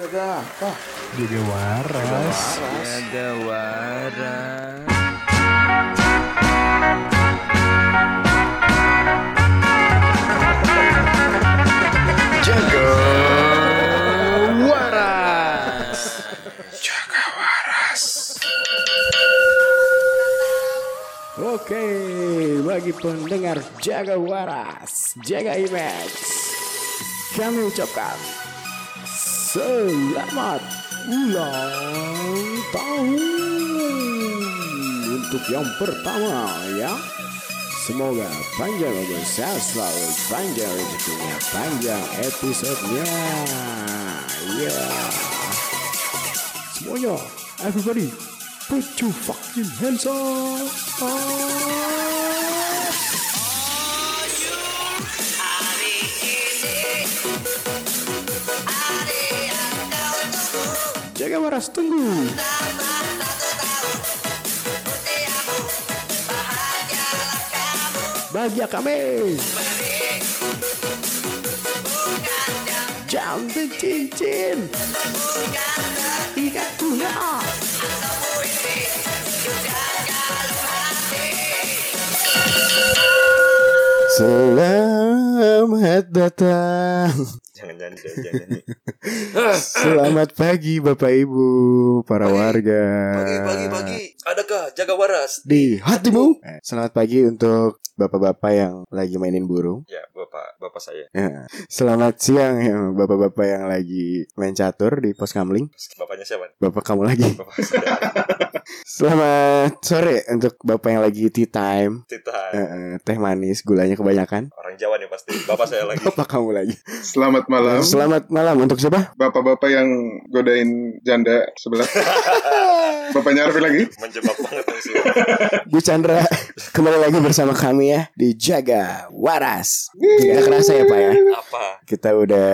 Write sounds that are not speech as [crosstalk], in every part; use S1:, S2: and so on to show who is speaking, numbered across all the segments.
S1: Jaga apa?
S2: Jaga waras.
S3: Jaga waras.
S1: Jaga.
S3: Waras.
S2: Oke, bagi pendengar jaga waras, jaga image. Kami ucapkan selamat ulang tahun untuk yang pertama ya. Semoga panjang umur sehat selalu, panjang rezekinya, panjang episodenya. Ya. Semuanya, everybody, put your fucking hands up. Jaga waras tunggu. Bahagia kami. Jambi cincin. Ikat tuna. Selamat datang.
S1: Jangan jangan
S2: [laughs]
S1: jangan.
S2: Selamat pagi Bapak Ibu, para
S1: Pagi.
S2: warga.
S1: Pagi pagi pagi. Adakah jaga waras?
S2: Di hatimu. Eh, Selamat pagi untuk Bapak-bapak yang lagi mainin burung.
S1: Ya bapak bapak saya.
S2: Ya. Selamat siang ya Bapak-bapak yang lagi main catur di pos kamling.
S1: Bapaknya siapa?
S2: Bapak kamu lagi.
S1: Bapak saya. [laughs]
S2: Selamat sore untuk Bapak yang lagi tea time. Eh,
S1: Tita.
S2: eh, teh manis, gulanya kebanyakan.
S1: Orang Jawa nih pasti. Bapak saya lagi.
S2: Bapak kamu lagi.
S4: Selamat malam,
S2: Selamat malam untuk siapa?
S4: bapak-bapak yang godain janda sebelah. Bapaknya Arfi lagi.
S1: Menjebak banget yang sih.
S2: Bu Chandra kembali lagi bersama kami ya di Jaga Waras. Tidak kerasa ya Pak ya.
S1: Apa?
S2: kita udah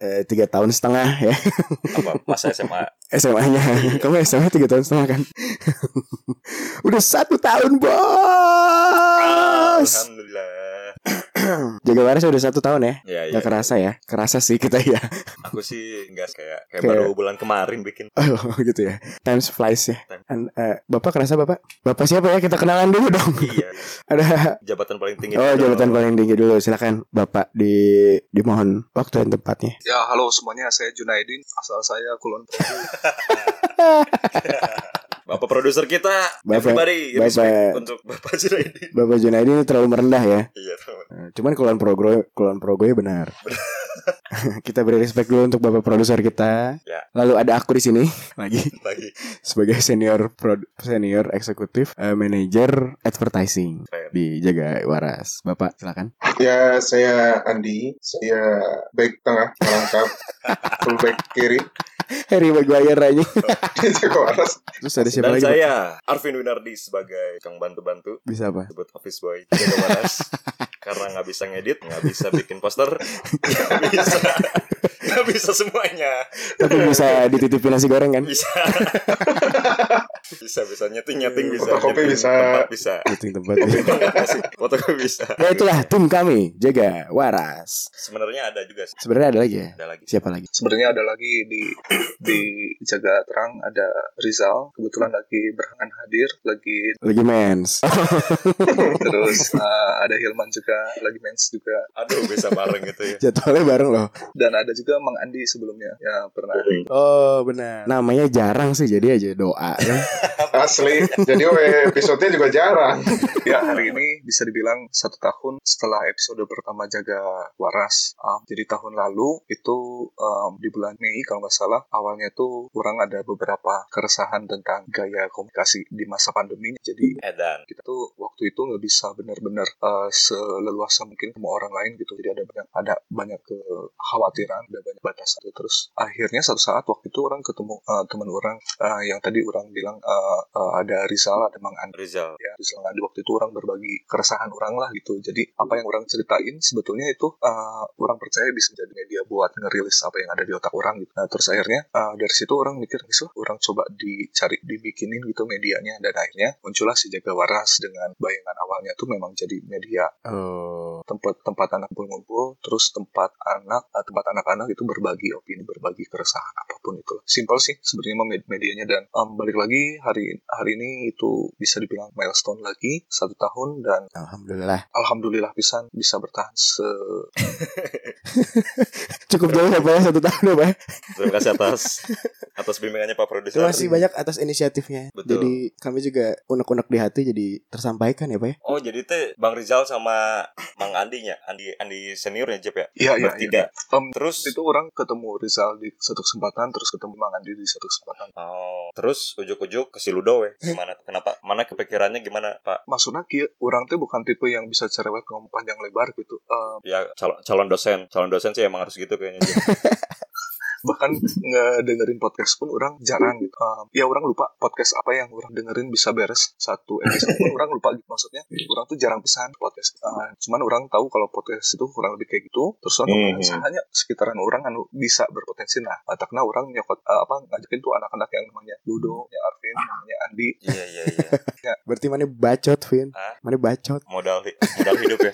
S2: eh, tiga tahun setengah ya [laughs]
S1: Apa? Masa SMA.
S2: SMA-nya. Kamu SMA tiga tahun setengah kan? [laughs] udah satu tahun bos.
S1: Alhamdulillah.
S2: Jaga waras udah satu tahun ya.
S1: Ya ya.
S2: Gak kerasa ya? Kerasa sih kita ya. [laughs]
S1: Aku sih nggak kayak kayak
S2: Kayak-
S1: baru bulan kemarin
S2: [laughs]
S1: bikin.
S2: Oh gitu ya. Times flies ya.
S1: Time.
S2: An- eh, bapak kerasa bapak? Bapak siapa ya? Kita kenalan dulu dong.
S1: Iya.
S2: [laughs] Ada.
S1: Jabatan paling tinggi.
S2: Oh jabatan paling tinggi dulu. Silakan bapak di dimohon waktu dan tempatnya.
S4: Ya, halo semuanya, saya Junaidin, asal saya Kulon Progo.
S1: Bapak produser kita.
S2: Bapak-
S1: everybody,
S2: Bapak-
S1: respect untuk Bapak [laughs] Junaidi.
S2: Bapak Junaidi ini terlalu merendah ya.
S1: Iya teman.
S2: Eh, Cuman kulon progo kulon progo ya
S1: [laughs]
S2: benar. kita beri respect dulu untuk bapak produser kita.
S1: Ya.
S2: Lalu ada aku di sini [laughs] lagi
S1: Lagi
S2: sebagai senior prod- senior eksekutif eh, manager advertising
S1: keren.
S2: di Jaga Waras. Bapak silakan. [laughs]
S4: Ya, saya Andi, saya back tengah, merangkap, full back kiri, [laughs]
S2: Harry Maguire
S1: [laughs]
S2: aja.
S4: jaga waras.
S2: Terus ada siapa
S1: Dan
S2: lagi? Pak?
S1: saya Arvin Winardi sebagai kang bantu-bantu
S2: Bisa apa?
S1: sebut office boy jaga
S5: [laughs]
S1: waras karena nggak bisa ngedit, nggak bisa bikin poster, nggak bisa, nggak bisa semuanya,
S2: Tapi bisa dititipin nasi goreng kan?
S5: [laughs]
S1: bisa, bisa bisa nyeting nyeting bisa,
S4: Fotokopi
S1: nyeting
S4: bisa.
S1: tempat bisa, [laughs]
S2: Meeting tempat.
S1: fotokopi bisa.
S2: [laughs] ya itulah tim kami Jaga Waras.
S1: Sebenarnya ada juga, sih.
S2: Sebenarnya ada lagi ya?
S1: ada lagi.
S2: Siapa lagi?
S5: Sebenarnya ada lagi di di Jaga Terang ada Rizal kebetulan lagi berkenan hadir lagi
S2: Lagi mens.
S5: terus eh, ada Hilman juga lagi mens juga
S1: Aduh bisa bareng gitu ya.
S2: [laughs] Jadwalnya bareng loh.
S5: dan ada juga Mang Andi sebelumnya ya pernah
S2: Oh benar. Namanya jarang sih jadi aja doa. ya.
S4: Asli, jadi we, episode-nya juga jarang.
S5: ya hari ini bisa dibilang satu tahun setelah episode pertama Jaga Waras Ah, jadi tahun lalu itu em, di bulan Mei kalau nggak salah awalnya tuh kurang ada beberapa keresahan tentang gaya komunikasi di masa pandemi jadi
S1: Edan.
S5: kita tuh waktu itu nggak bisa benar-benar eh, seleluasa mungkin sama orang lain gitu jadi ada banyak ada banyak kekhawatiran ada banyak gitu. batasan terus akhirnya satu saat waktu itu orang ketemu eh, teman orang eh, yang tadi orang bilang eh, eh, ada Rizal, ada Mang Andri
S1: Rizal.
S5: ya Rizal Ngadi waktu itu orang berbagi keresahan orang lah gitu. Jadi apa yang orang ceritain sebetulnya itu eh, orang percaya bisa jadi media buat ngerilis apa yang ada di otak orang gitu. Nah, terus akhirnya eh, dari situ orang mikir misal orang coba dicari dibikinin gitu medianya dan akhirnya muncullah si Jaga Waras dengan bayangan awalnya tuh memang jadi media
S2: Oh.
S5: tempat tempat anak ngumpul terus tempat anak eh, tempat anak-anak itu berbagi opini berbagi keresahan apapun itu simpel sih sebenarnya mah med- medianya dan em, balik lagi hari hari ini itu bisa dibilang milestone lagi satu tahun dan
S2: [laughs] Alhamdulillah.
S5: alhamdulillah pisan bisa bertahan se
S2: Cukup jauh ya Pak ya satu tahun ya Pak. ya?
S1: Terima kasih atas atas bimbingannya Pak Produser.
S2: Terima kasih banyak atas inisiatifnya.
S1: Betul.
S2: Jadi kami juga unek-unek di hati jadi tersampaikan ya Pak ya.
S1: Oh jadi teh Bang Rizal sama Mang Andinya, Andi Andi seniornya Jep ya.
S5: Iya, iya,
S1: Bertiga.
S5: iya. Em,
S1: Terus
S5: itu orang ketemu Rizal di satu kesempatan terus ketemu Mang Andi di satu kesempatan
S1: Oh, terus ujuk-ujuk ke si Ludo weh. Gimana kenapa? Mana kepikirannya gimana, Pak?
S5: maksudnya kieu, orang tuh bukan tipe yang bisa cerewet ngomong panjang lebar gitu Em,
S1: Ya calon, calon dosen, calon dosen sih emang harus gitu [laughs] kayaknya. Jep.
S5: bahkan ngedengerin podcast pun orang jarang gitu Um, ya orang lupa podcast apa yang orang dengerin bisa beres satu episode pun orang lupa gitu maksudnya orang tuh jarang pesan podcast Uh, cuman orang tahu kalau podcast itu kurang lebih kayak gitu terus orang
S1: Mhm.
S5: berpotensi hanya sekitaran orang anu bisa berpotensi nah karena orang nyokot uh, apa ngajakin tuh anak-anak yang namanya Ludo ya Arvin namanya Andi
S1: Iya, iya, iya.
S2: Berarti mana bacot Vin?
S1: Hah?
S2: Mana bacot
S1: Modal hi- modal hidup ya.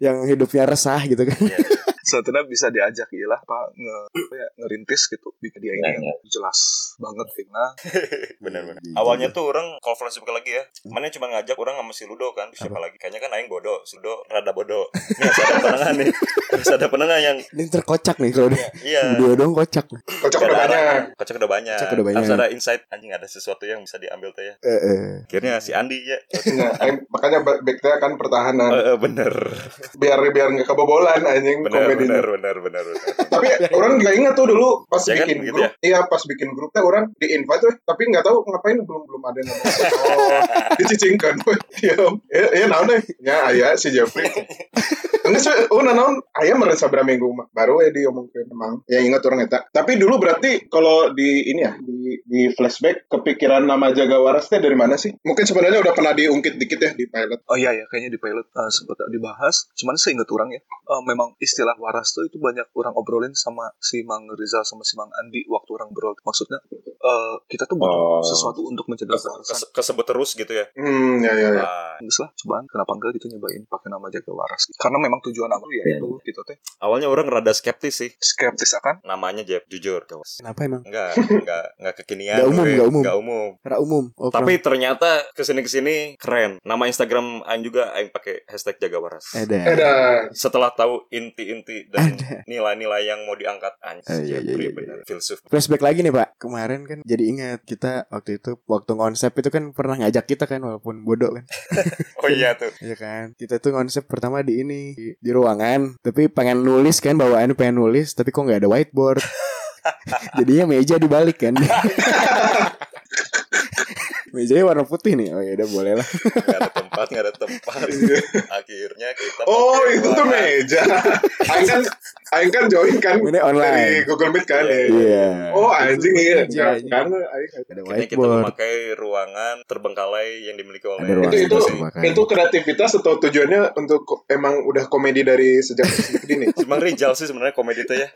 S2: yang hidupnya resah gitu kan.
S1: Iya.
S5: setelah bisa diajak ialah apa nge, apa ya, ngerintis gitu bikin dia ini
S1: Ya,
S5: yang jelas banget karena
S1: Benar-benar.
S2: Iya,
S1: Awalnya tuh orang konferensi bukan lagi ya. Mana cuma ngajak orang sama si Ludo kan, terus siapa lagi? Kayaknya kan aing bodoh, si Ludo rada bodoh. Ini harus ada penengah nih. Harus ada penengah yang
S2: Ini terkocak nih kalau dia.
S1: iya.
S2: Dua dong kocak.
S4: Kocok
S1: Gak
S4: udah
S1: ada
S4: banyak.
S1: arah. Kocok udah banyak.
S2: Kocok udah banyak.
S1: Harus ada insight anjing ada sesuatu yang bisa diambil teh ya.
S2: Eh, eh.
S1: Akhirnya si Andi ya.
S4: Nah, eh, makanya ba- back teh kan pertahanan.
S1: Eh, eh, bener.
S4: Biar biar nggak kebobolan anjing
S1: Bener,
S4: komedinya.
S1: bener, bener, bener, bener. [laughs]
S4: [laughs] Tapi orang nggak ingat tuh dulu pas
S1: Ya kan,
S4: bikin
S1: gitu
S4: grup. Iya pas bikin grup teh orang di invite tuh, tapi nggak tahu ngapain belum belum ada
S1: [laughs]
S4: yang ngomong. Oh, dicicingkan. weh. Diam. Ya ya naon deh. Ya aya si
S1: [laughs]
S4: Jeffrey. Enggak sih, oh naon aya meren sabra minggu mah. Baru ya diomongkeun emang. Ya ingat orang eta. Tapi dulu berarti kalau di ini ya di, di flashback kepikiran nama Jaga Waras teh dari mana sih? Mungkin sebenarnya udah pernah diungkit dikit ya di pilot.
S5: Oh iya ya, kayaknya di pilot eh, sempat dibahas. Cuman seingat orang ya, eh, memang istilah waras tuh itu banyak orang obrolin sama si Mang Rizal sama si Mang Andi waktu orang berol. Maksudnya eh, kita tuh butuh
S1: Oh.
S5: sesuatu untuk menjaga
S1: Kes-
S5: kewarasan.
S1: kes- kesebut terus gitu ya.
S4: Hmm, ya ya ya.
S1: Ah,
S5: Bagus lah, cobaan kenapa enggak gitu nyobain pakai nama jaga waras. Karena memang tujuan aku ya itu kita teh
S1: awalnya orang rada skeptis sih
S5: skeptis akan
S1: namanya Jeb jujur. Gawas.
S2: Kenapa emang?
S1: Enggak,
S2: [laughs]
S1: enggak, enggak kekinian.
S2: Nggak umum,
S1: gue.
S2: nggak umum.
S1: Nggak umum.
S2: Karena umum. Oh,
S1: Tapi ternyata kesini kesini keren. Nama Instagram Aing juga Aing pakai hashtag jaga waras.
S2: kenapa? Ada.
S4: Eh dah.
S1: Setelah tahu inti-inti dan
S2: Ada.
S1: nilai-nilai yang mau diangkat Anjir,
S2: Eh, iya, iya,
S1: Jeffrey,
S2: iya, iya.
S1: bener. filsuf.
S2: Flashback lagi nih Pak. Kemarin kan jadi ingat kita waktu itu waktu konsep itu kan pernah ngajak kita kan walaupun bodoh kan.
S1: Oh iya tuh.
S2: Iya kan? Kita tuh konsep pertama di ini di, di ruangan, tapi pengen nulis kan bawaannya pengen nulis, tapi kok nggak ada whiteboard. [laughs] Jadinya meja dibalik kan. [laughs] Mejanya warna putih nih. Oh ya udah boleh lah.
S1: Enggak ada tempat, enggak ada tempat.
S2: [laughs] Iya.
S1: Akhirnya kita
S4: Oh
S1: pakai
S4: itu tuh
S1: warna.
S4: [laughs] meja. Aing kan, Aing kan join kan
S2: Ini
S4: dari
S2: online.
S4: Google Meet kan ya.
S2: Iya.
S4: Oh anjing iya.
S3: meja,
S4: Nggak-
S3: anjing.
S4: Karena Aing
S2: Ada
S1: Akhirnya kita
S2: whiteboard.
S1: memakai ruangan terbengkalai yang dimiliki oleh
S2: Ada ruangan
S4: itu itu
S2: terbengkalai.
S4: itu kreativitas atau tujuannya untuk ko- emang udah komedi dari sejak sejak [laughs] dini.
S1: Cuman Rizal sih sebenarnya komedi tuh
S2: [laughs]
S1: ya.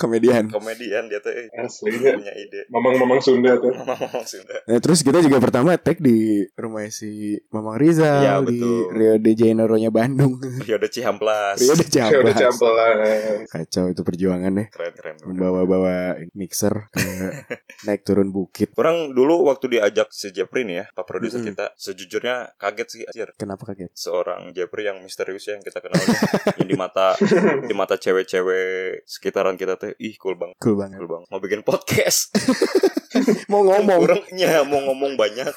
S2: Komedian.
S1: Komedian dia tuh eh,
S2: Iya.
S4: Aslinya
S1: punya ide.
S4: iya.
S1: [laughs]
S4: mamang-mamang Sunda tuh.
S1: Ngomong Sunda.
S2: Nah, terus kita juga pertama tag di rumah si Mamang Rizal
S1: Iya,
S2: di
S1: betul.
S2: Rio de Janeiro-nya Bandung. [laughs]
S1: Periode Cihamplas.
S2: Rio de
S4: Saya udah
S2: Ciamplas.
S4: campel lah.
S2: Kacau itu perjuangannya.
S1: Keren keren.
S2: membawa-bawa mixer
S1: [laughs]
S2: ke naik turun bukit.
S1: Orang dulu waktu diajak si Jeffrey nih ya, Pak produser
S2: Mm-mm.
S1: kita, sejujurnya kaget sih anjir.
S2: Kenapa kaget?
S1: Seorang Jeffrey yang misterius ya, yang kita
S2: [laughs]
S1: kenal yang di mata di mata cewek-cewek sekitaran kita teh ih cool banget.
S2: Cool banget.
S1: Cool banget. Mau bikin podcast.
S2: Mau
S1: [laughs]
S2: ngomong.
S1: Orangnya mau ngomong banyak.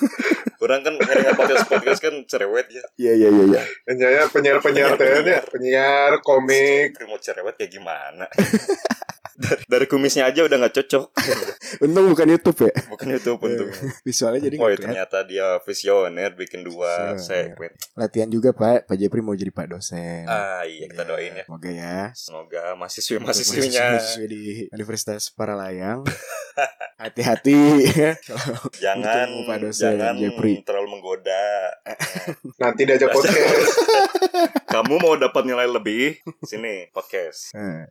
S1: Orang kan ngeringat podcast podcast kan cerewet ya.
S2: Iya iya iya. iya.
S4: Penyiar penyiar penyiar tehnya iya. penyiar komik.
S1: Jeffrey mau cerewet kayak gimana? [laughs] dari, dari kumisnya aja udah nggak cocok.
S2: Untung bukan YouTube
S1: [laughs]
S2: ya.
S1: Bukan itu untungnya.
S2: Visualnya jadi
S1: Oh
S2: nggak
S1: ya,
S2: kelihatan.
S1: ternyata dia visioner bikin dua
S2: Visioner.
S1: segmen.
S2: Latihan juga Pak. Pak Jepri mau jadi Pak dosen.
S1: Ah iya kita doain ya.
S2: Semoga ya.
S1: Semoga mahasiswi mahasiswinya
S2: Mahasiswi di Universitas Paralayang hati-hati
S1: [laughs] [laughs] jangan
S2: Ditunggu Pak dosen,
S1: jangan
S2: Jeffrey.
S1: terlalu menggoda
S4: Nanti diajak podcast.
S1: [laughs] kamu mau dapat nilai lebih sini [laughs] podcast
S2: Eh,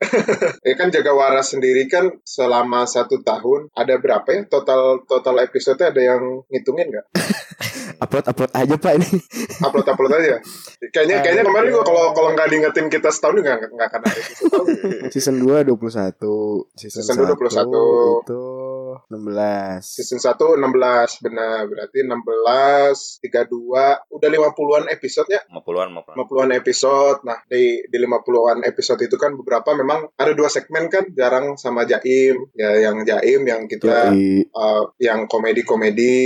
S4: ya kan jaga waras sendiri kan selama satu tahun ada berapa ya total total episode ada yang ngitungin nggak?
S2: upload upload aja pak ini
S4: Upload upload aja. Kayaknya kayaknya kemarin gua kalau kalau nggak diingetin kita setahun juga nggak nggak akan ada episode.
S1: [laughs]
S4: tahu ya.
S2: season 2 21 season,
S4: Season dua
S2: 1
S4: 21.
S2: itu 16
S4: Season 1 16 benar berarti 16 32 udah 50-an episode-nya
S1: 50-an 50-an
S4: 50-an episode. Nah, di di 50-an episode itu kan beberapa memang ada dua segmen kan jarang sama Jaim. Ya yang Jaim yang kita
S2: Yoi.
S4: eh, yang komedi-komedi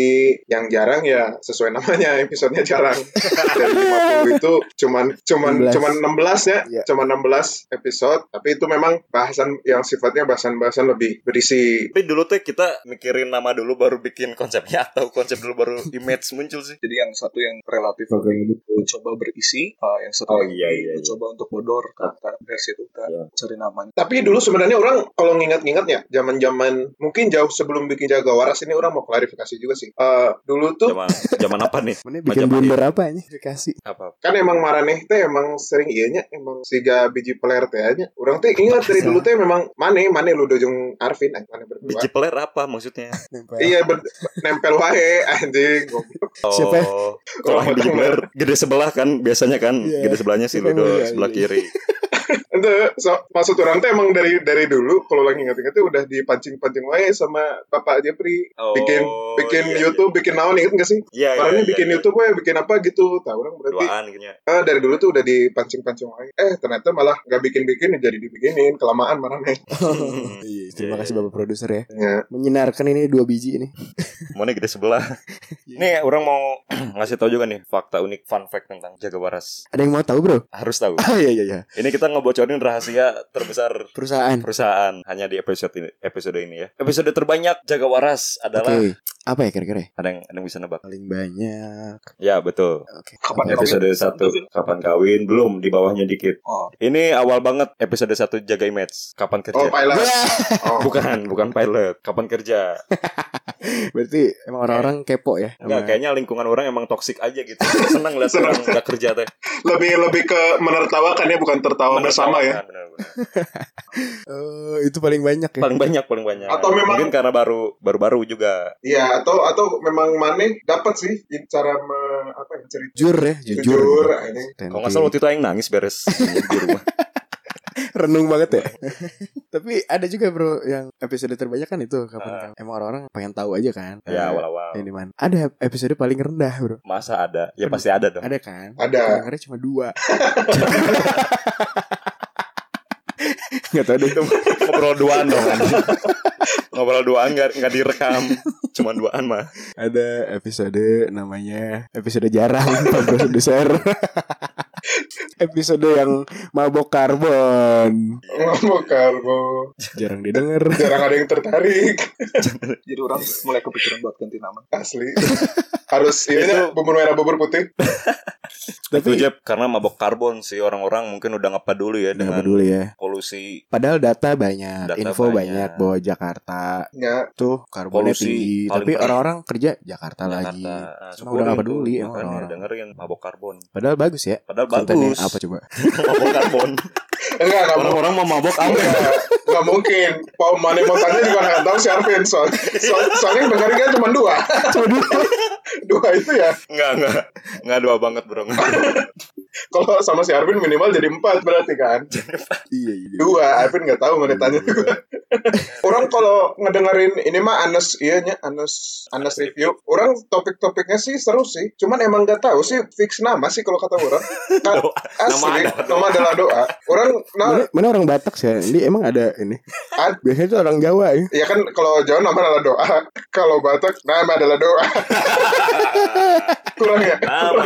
S4: yang jarang ya sesuai namanya [laughs] episodenya jarang. Dari 50 itu cuman cuman
S2: 16.
S4: cuman 16 ya,
S2: Iya.
S4: cuman 16 episode, tapi itu memang bahasan yang sifatnya bahasan-bahasan lebih berisi
S1: tapi dulu tuh kita mikirin nama dulu baru bikin konsepnya atau konsep dulu baru image muncul sih
S5: Jadi yang satu yang relatif
S2: Oke.
S5: lebih mencoba berisi, ah, yang satu
S1: Oh,
S5: yang
S1: iya,
S5: lebih
S1: iya, iya.
S5: mencoba untuk bodor kata versi itu kita
S1: Iya.
S5: cari namanya.
S4: Tapi dulu sebenarnya orang kalau ngingat-ngingat ya, zaman-zaman mungkin jauh sebelum bikin jaga waras ini orang mau klarifikasi juga sih. Eh, dulu tuh
S1: zaman zaman apa nih
S2: Mana bikin
S1: Majapahit.
S2: blunder apa ini? Dikasih
S1: [laughs] apa
S4: kan emang Maraneh teh emang sering iya nya emang siga biji peler teh nya. Orang teh ingat dari dulu teh memang Mane Mane Ludojung Arvin anjing Mane berdua.
S1: biji peler apa maksudnya
S2: nempel.
S4: Iya ber- nempel wae anjing. Goblok.
S2: Siapa?
S1: oh [laughs] kalau yang biji peler gede sebelah kan biasanya kan
S2: Iya.
S1: gede sebelahnya sih
S2: Siapa yang
S1: Ludo
S2: mulia?
S1: sebelah
S2: Iya, iya.
S1: kiri
S4: Itu so, maksud orang teh emang dari dari dulu kalau lagi ingat-ingat teh udah dipancing-pancing wae sama Bapak Jepri bikin
S1: Oh,
S4: bikin
S1: iya, iya.
S4: YouTube, bikin naon inget gak sih?
S1: iya iya iya,
S4: Orangnya
S1: ya?
S4: bikin
S1: iya.
S4: YouTube wae, bikin apa gitu. Tahu orang berarti
S1: duaan kayaknya
S4: Eh, dari dulu tuh udah dipancing-pancing lagi. Eh, ternyata malah nggak bikin-bikin jadi dibikinin kelamaan mana nih.
S2: [laughs] Iya, Terima
S1: Iya,
S2: kasih
S1: iya.
S2: Bapak produser ya.
S4: Ya.
S2: Menyenarkan ini dua biji ini.
S1: Mana gede sebelah.
S4: Iya.
S1: nih, orang mau [clears throat] ngasih tahu juga nih fakta unik fun fact tentang Jaga Waras.
S2: Ada yang mau tahu, Bro?
S1: Harus tahu.
S2: Ah iya iya iya.
S1: Ini kita ngebocorin rahasia terbesar
S2: Perusahaan.
S1: perusahaan hanya di episode ini, episode ini ya. Episode terbanyak Jaga Waras
S2: Oke.
S1: adalah
S2: Apa ya kira-kira? ya?
S1: ada yang ada yang bisa nebak.
S2: Paling banyak.
S1: Ya, betul.
S2: Oke.
S5: Kapan
S2: Apa ya?
S5: kawin?
S1: Episode 1 kapan kawin belum di bawahnya dikit.
S5: Oh,
S1: Ini awal banget episode 1 Jaga Image. Kapan
S4: Oh,
S1: kerja?
S4: pilot. Oh.
S1: bukan, bukan pilot. Kapan kerja?
S2: Berarti emang orang-orang kepo ya.
S1: Enggak,
S2: sama-
S1: kayaknya lingkungan orang emang toksik aja gitu. Seneng lihat orang nggak kerja teh.
S4: lebih lebih ke menertawakan ya, bukan
S5: Oh,
S4: tertawa bersama ya.
S1: Menertawakan, benar-benar.
S2: Eh, itu paling banyak ya.
S1: Paling banyak, paling banyak.
S4: Atau memang-
S1: mungkin karena baru baru-baru juga.
S4: Iya, atau atau memang Mane dapat sih cara me- apa ya, cerita.
S2: Jujur ya, jujur.
S4: Jujur, anjing.
S1: Kalau nggak salah waktu itu yang nangis beres di rumah.
S2: renung banget ya. [laughs] Tapi ada juga bro yang episode terbanyak kan itu kapan Emang orang-orang pengen tahu aja kan. Eh,
S1: ya awal-awal.
S2: Ini mana? Ada episode paling rendah bro.
S1: Masa ada? Ya pasti ada dong.
S2: Ada kan?
S4: Ada.
S2: Kadang-kadang cuma dua. Gak tau deh itu.
S1: Ngobrol duaan dong. anjing. [laughs] Ngobrol duaan nggak nggak direkam, cuman duaan mah.
S2: Ada episode namanya episode jarang [laughs] Pak Bro Produser. episode yang mabok karbon
S4: [laughs] Ngomong karbo.
S2: jarang didengar.
S4: Jarang ada yang tertarik.
S5: jadi orang [laughs] mulai kepikiran buat ganti nama.
S4: Asli. Harus ini ya, bubur merah bubur putih.
S1: Itu
S2: Tapi
S1: Jeb, karena mabok karbon sih orang-orang mungkin udah ngapa dulu ya
S2: nggak
S1: dengan
S2: peduli ya.
S1: polusi
S2: Padahal data banyak,
S1: Data
S2: info
S1: banyak.
S2: banyak. bahwa Jakarta
S4: Ya,
S2: tuh karbonnya
S1: Polusi
S2: tinggi,
S1: paling
S2: tapi
S1: parah.
S2: orang-orang kerja Jakarta, lagi. Emang
S1: Ah,
S2: udah nggak
S1: syukurin
S2: peduli
S1: tuh,
S2: emang
S1: makanya
S2: orang-orang.
S1: dengerin mabok karbon.
S2: Padahal bagus ya.
S1: Padahal
S2: Kontennya
S1: bagus.
S2: apa coba?
S1: [laughs] mabok karbon.
S4: enggak enggak mau.
S1: Orang-orang mau mabok apa?
S4: Enggak, enggak mungkin. Pak Mane mau tanya juga nggak tahu si Arvin soal, soal- soalnya yang dengerin kan cuma dua.
S2: Coba dulu.
S4: [laughs] Dua itu ya.
S1: Enggak, enggak. Enggak dua banget, Bro.
S4: Kalau sama si Arvin minimal jadi empat berarti kan.
S2: iya, iya.
S4: Dua, Arvin nggak tahu menitanya. Orang kalau ngedengerin ini mah Anes, iya nya Anes, Anes review. Orang topik-topiknya sih seru sih. Cuman emang nggak tahu sih fix nama sih kalau kata orang. Ka-
S1: Doa. Nama
S4: Asli,
S1: adalah
S4: nama adalah doa. Orang, nah,
S2: Mana, mana orang Batak sih? ya? Ini emang ada ini.
S4: Ad-
S2: Biasanya tuh orang Jawa ya.
S4: ya kan kalau Jawa nama adalah doa. [laughs] Kalau Batak nama adalah doa.
S1: [laughs]
S4: Kurang ya?
S1: Nama.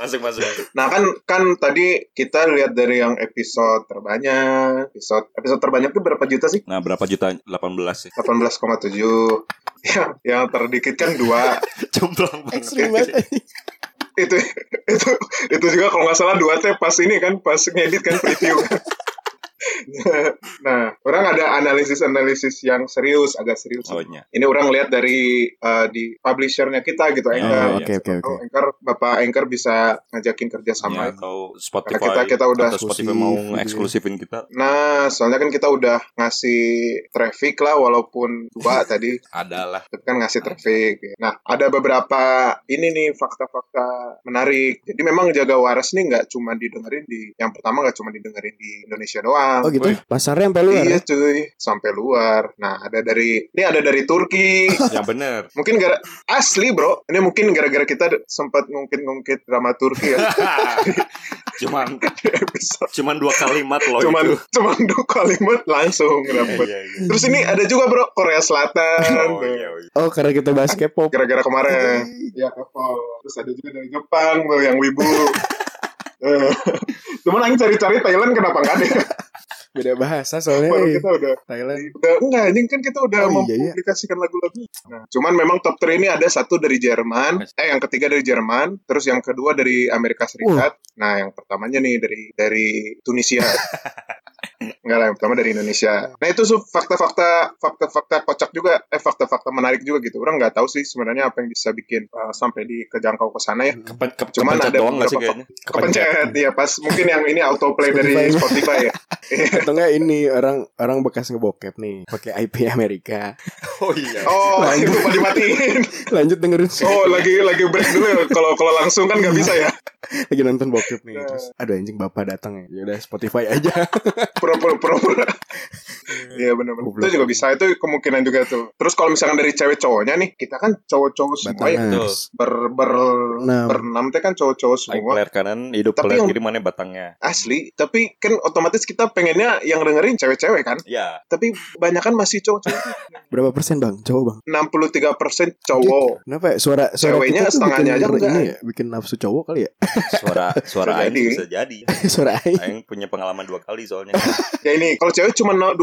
S1: Masuk, masuk, masuk.
S4: Nah kan kan tadi kita lihat dari yang episode terbanyak, episode episode terbanyak itu berapa juta sih?
S1: Nah, berapa juta? 18 sih.
S4: 18,7. yang Ya, yang terdikit kan [laughs] dua.
S1: Jomplang banget.
S2: Ekstrim banget.
S4: itu itu itu juga kalau nggak salah dua teh pas ini kan pas ngedit kan preview. [laughs] nah, orang ada analisis-analisis yang serius, agak serius.
S1: Oh, nya.
S4: Ini orang lihat dari eh, di publishernya kita gitu, Anchor.
S1: Oh,
S2: oke, oke, Iya.
S4: Siapa tahu
S2: oke.
S4: Anchor, Bapak Anchor bisa ngajakin kerja sama.
S1: Ya, atau Spotify
S4: Karena kita- kita udah
S1: atau Spotify mau
S2: eksklusif, gitu ya.
S1: eksklusifin kita
S4: Nah, soalnya kan kita udah ngasih traffic lah, walaupun dua
S2: [laughs]
S4: tadi,
S1: adalah
S4: tapi kan ngasih traffic. ya. Nah, ada beberapa ini nih fakta-fakta menarik. Jadi memang jaga waras nih nggak cuma didengerin di, yang pertama nggak cuma didengerin di Indonesia doang.
S2: Oh gitu?
S1: Wih.
S2: Pasarnya sampai luar
S4: Iya
S2: ya?
S4: cuy, sampai luar. Nah, ada dari ini ada dari
S2: [laughs]
S4: Turki.
S2: Ya.
S1: yang Ya, bener [laughs]
S4: mungkin gara asli bro, ini mungkin gara-gara kita d- sempat ngungkit-ngungkit drama Turki
S2: [laughs]
S4: ya
S1: cuman
S4: di episode.
S1: cuman dua kalimat loh
S2: [laughs]
S1: itu
S4: Cuman [laughs] cuman dua kalimat langsung dapet.
S1: Oh, gitu. Iya, iya.
S4: Terus ini ada juga bro Korea Selatan.
S1: [laughs] oh
S4: tuh.
S1: iya iya.
S2: Oh karena kita bahas
S4: [laughs]
S2: K-pop.
S4: Gara-gara kemarin. Ya kapal. Terus ada juga dari Jepang tuh yang
S1: [laughs]
S4: wibu. Eh, Cuman Aing cari-cari Thailand kenapa nggak ada? ya?
S2: Beda bahasa
S1: Iya,
S2: soalnya.
S4: Baru
S2: eh.
S4: kita udah
S2: Thailand.
S4: udah enggak anjing kan kita udah
S2: Oh, iya, iya.
S4: mempublikasikan lagu-lagu. Nah, cuman memang top 3 ini ada satu dari Jerman, eh yang ketiga dari Jerman, terus yang kedua dari Amerika Serikat. Nah, yang pertamanya nih dari dari
S2: [laughs]
S4: Tunisia. Enggak lah, yang pertama dari Indonesia. Nah, itu su- fakta-fakta fakta-fakta kocak juga, eh fakta-fakta menarik juga gitu. Orang nggak tahu sih sebenarnya apa yang bisa bikin eh, sampai di kejangkau ke sana ya.
S1: Kepen, ke,
S4: Cuman
S1: kepencet
S4: ada
S1: doang gak sih
S4: beberapa
S1: kayaknya?
S4: Kepencet ya pas mungkin yang ini autoplay dari Spotify ya.
S2: Atau enggak ini orang orang bekas ngebokep nih pakai IP Amerika.
S1: Oh iya.
S4: Oh, itu lupa dimatiin.
S2: Lanjut dengerin
S4: Oh lagi lagi break dulu ya. kalau kalau langsung kan nggak bisa ya
S2: lagi nonton bokep nih.
S4: Iya.
S2: Terus aduh anjing bapak datang ya. Ya udah Spotify
S4: [laughs]
S2: aja.
S4: pura pura pura pura Iya benar benar itu
S2: Goblok.
S4: juga bisa itu kemungkinan juga tuh terus kalau misalkan dari cewek cowoknya nih kita kan cowok cowok semua ya
S2: Batangas.
S4: ber ber
S2: Enam.
S4: berenam teh kan cowok cowok
S1: Aing
S4: semua
S1: player kanan, hidup
S4: Tapi
S1: player
S4: yang-
S1: kiri mana batangnya?
S4: asli tapi kan otomatis kita pengennya yang dengerin cewek-cewek kan
S1: Ya.
S4: tapi banyak kan masih cowok-cowok
S2: Berapa persen bang? Coba bang.
S4: 63% cowok
S2: Kenapa ya? Suara suara kita tuh
S4: Ceweknya
S2: bikin
S4: setengahnya aja enggak.
S2: ini ya, bikin nafsu cowok kali ya? [laughs]
S1: Suara
S4: Bisa
S1: suara Aing
S4: jadi.
S1: bisa jadi.
S2: suara aing.
S1: Aing punya pengalaman dua kali soalnya.
S4: ya ini kalau cewek cuma 28%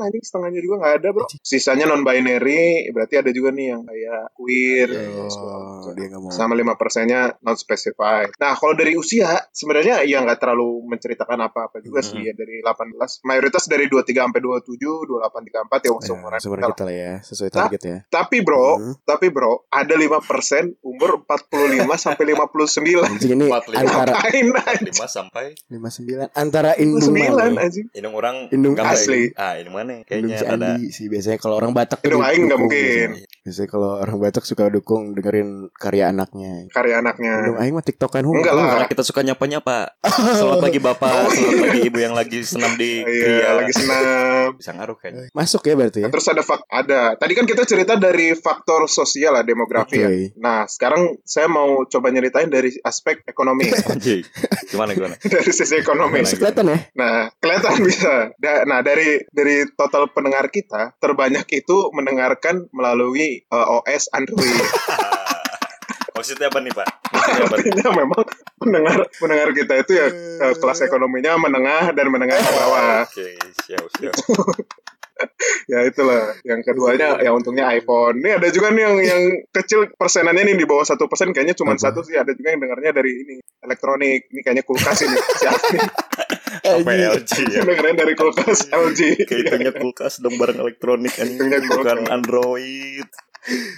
S4: anjing setengahnya juga nggak ada bro sisanya non binary berarti ada juga nih yang kayak queer
S2: Oh,
S4: segala macam.
S2: dia nggak mau. Iya,
S4: sama lima persennya not specified. Nah kalau dari usia sebenarnya ya nggak terlalu menceritakan apa-apa juga
S2: Hmm.
S4: sih ya dari 18 mayoritas dari 23 sampai 27, 28, 34 ya seumuran
S2: Ya, seumuran
S4: kita lah.
S2: kita lah ya, sesuai target ya.
S4: Tapi bro,
S2: Hmm.
S4: tapi bro ada 5% umur 45 sampai 59.
S2: Anjing ini
S1: 45.
S2: antara
S4: Ngapain anjing? [laughs]
S1: 45 sampai
S2: 59 antara indung
S4: 59
S2: mana? ya?
S4: anjing.
S1: indung orang
S2: Indung
S1: gambar.
S4: asli.
S1: Ah, indung
S2: Indung
S1: mana? Kayaknya
S2: si
S1: ada
S2: Andi sih biasanya kalau orang Batak tuh
S4: Indung
S2: du-
S4: Aing nggak
S2: dukung
S4: mungkin.
S2: biasanya. Biasanya kalau orang Batak suka dukung dengerin karya anaknya.
S4: Karya anaknya.
S2: Indung aing mah TikTokan hung.
S4: Enggak lah.
S1: karena kita suka nyapa-nyapa. Selamat pagi Bapak, selamat pagi Ibu yang lagi senam di
S4: Oh, Iya,
S1: Kria.
S4: lagi senam.
S1: Bisa ngaruh kayaknya.
S2: Masuk ya berarti ya.
S4: Terus ada fak ada. Tadi kan kita cerita dari faktor sosial lah demografi ya.
S2: Betul.
S4: Nah, sekarang saya mau coba nyeritain dari aspek ekonomi,
S2: [laughs]
S1: Anjing. Gimana
S4: [laughs]
S1: gimana?
S4: dari sisi ekonomi.
S2: Masuk kelihatan ya.
S4: Nah, kelihatan bisa. Da- nah, dari dari total pendengar kita terbanyak itu mendengarkan melalui eh, OS Android. [laughs]
S1: Maksudnya apa nih, Pak? Maksudnya apa?
S4: Artinya memang pendengar pendengar kita itu ya eh, kelas ekonominya menengah dan menengah ke bawah.
S1: Oke, siap, siap.
S4: ya itulah yang keduanya ya untungnya iPhone ini ada juga nih yang yang kecil persenannya nih di bawah satu persen kayaknya cuma
S2: Apa?
S4: satu sih ada juga yang dengarnya dari ini elektronik ini kayaknya kulkas ini [laughs] siapa nih
S1: Apa LG ya?
S4: yang dengerin dari kulkas LG
S1: Kehitungnya kulkas dong barang elektronik anjing.
S4: Kehitungnya
S1: bukan
S4: kulkas.
S1: Android.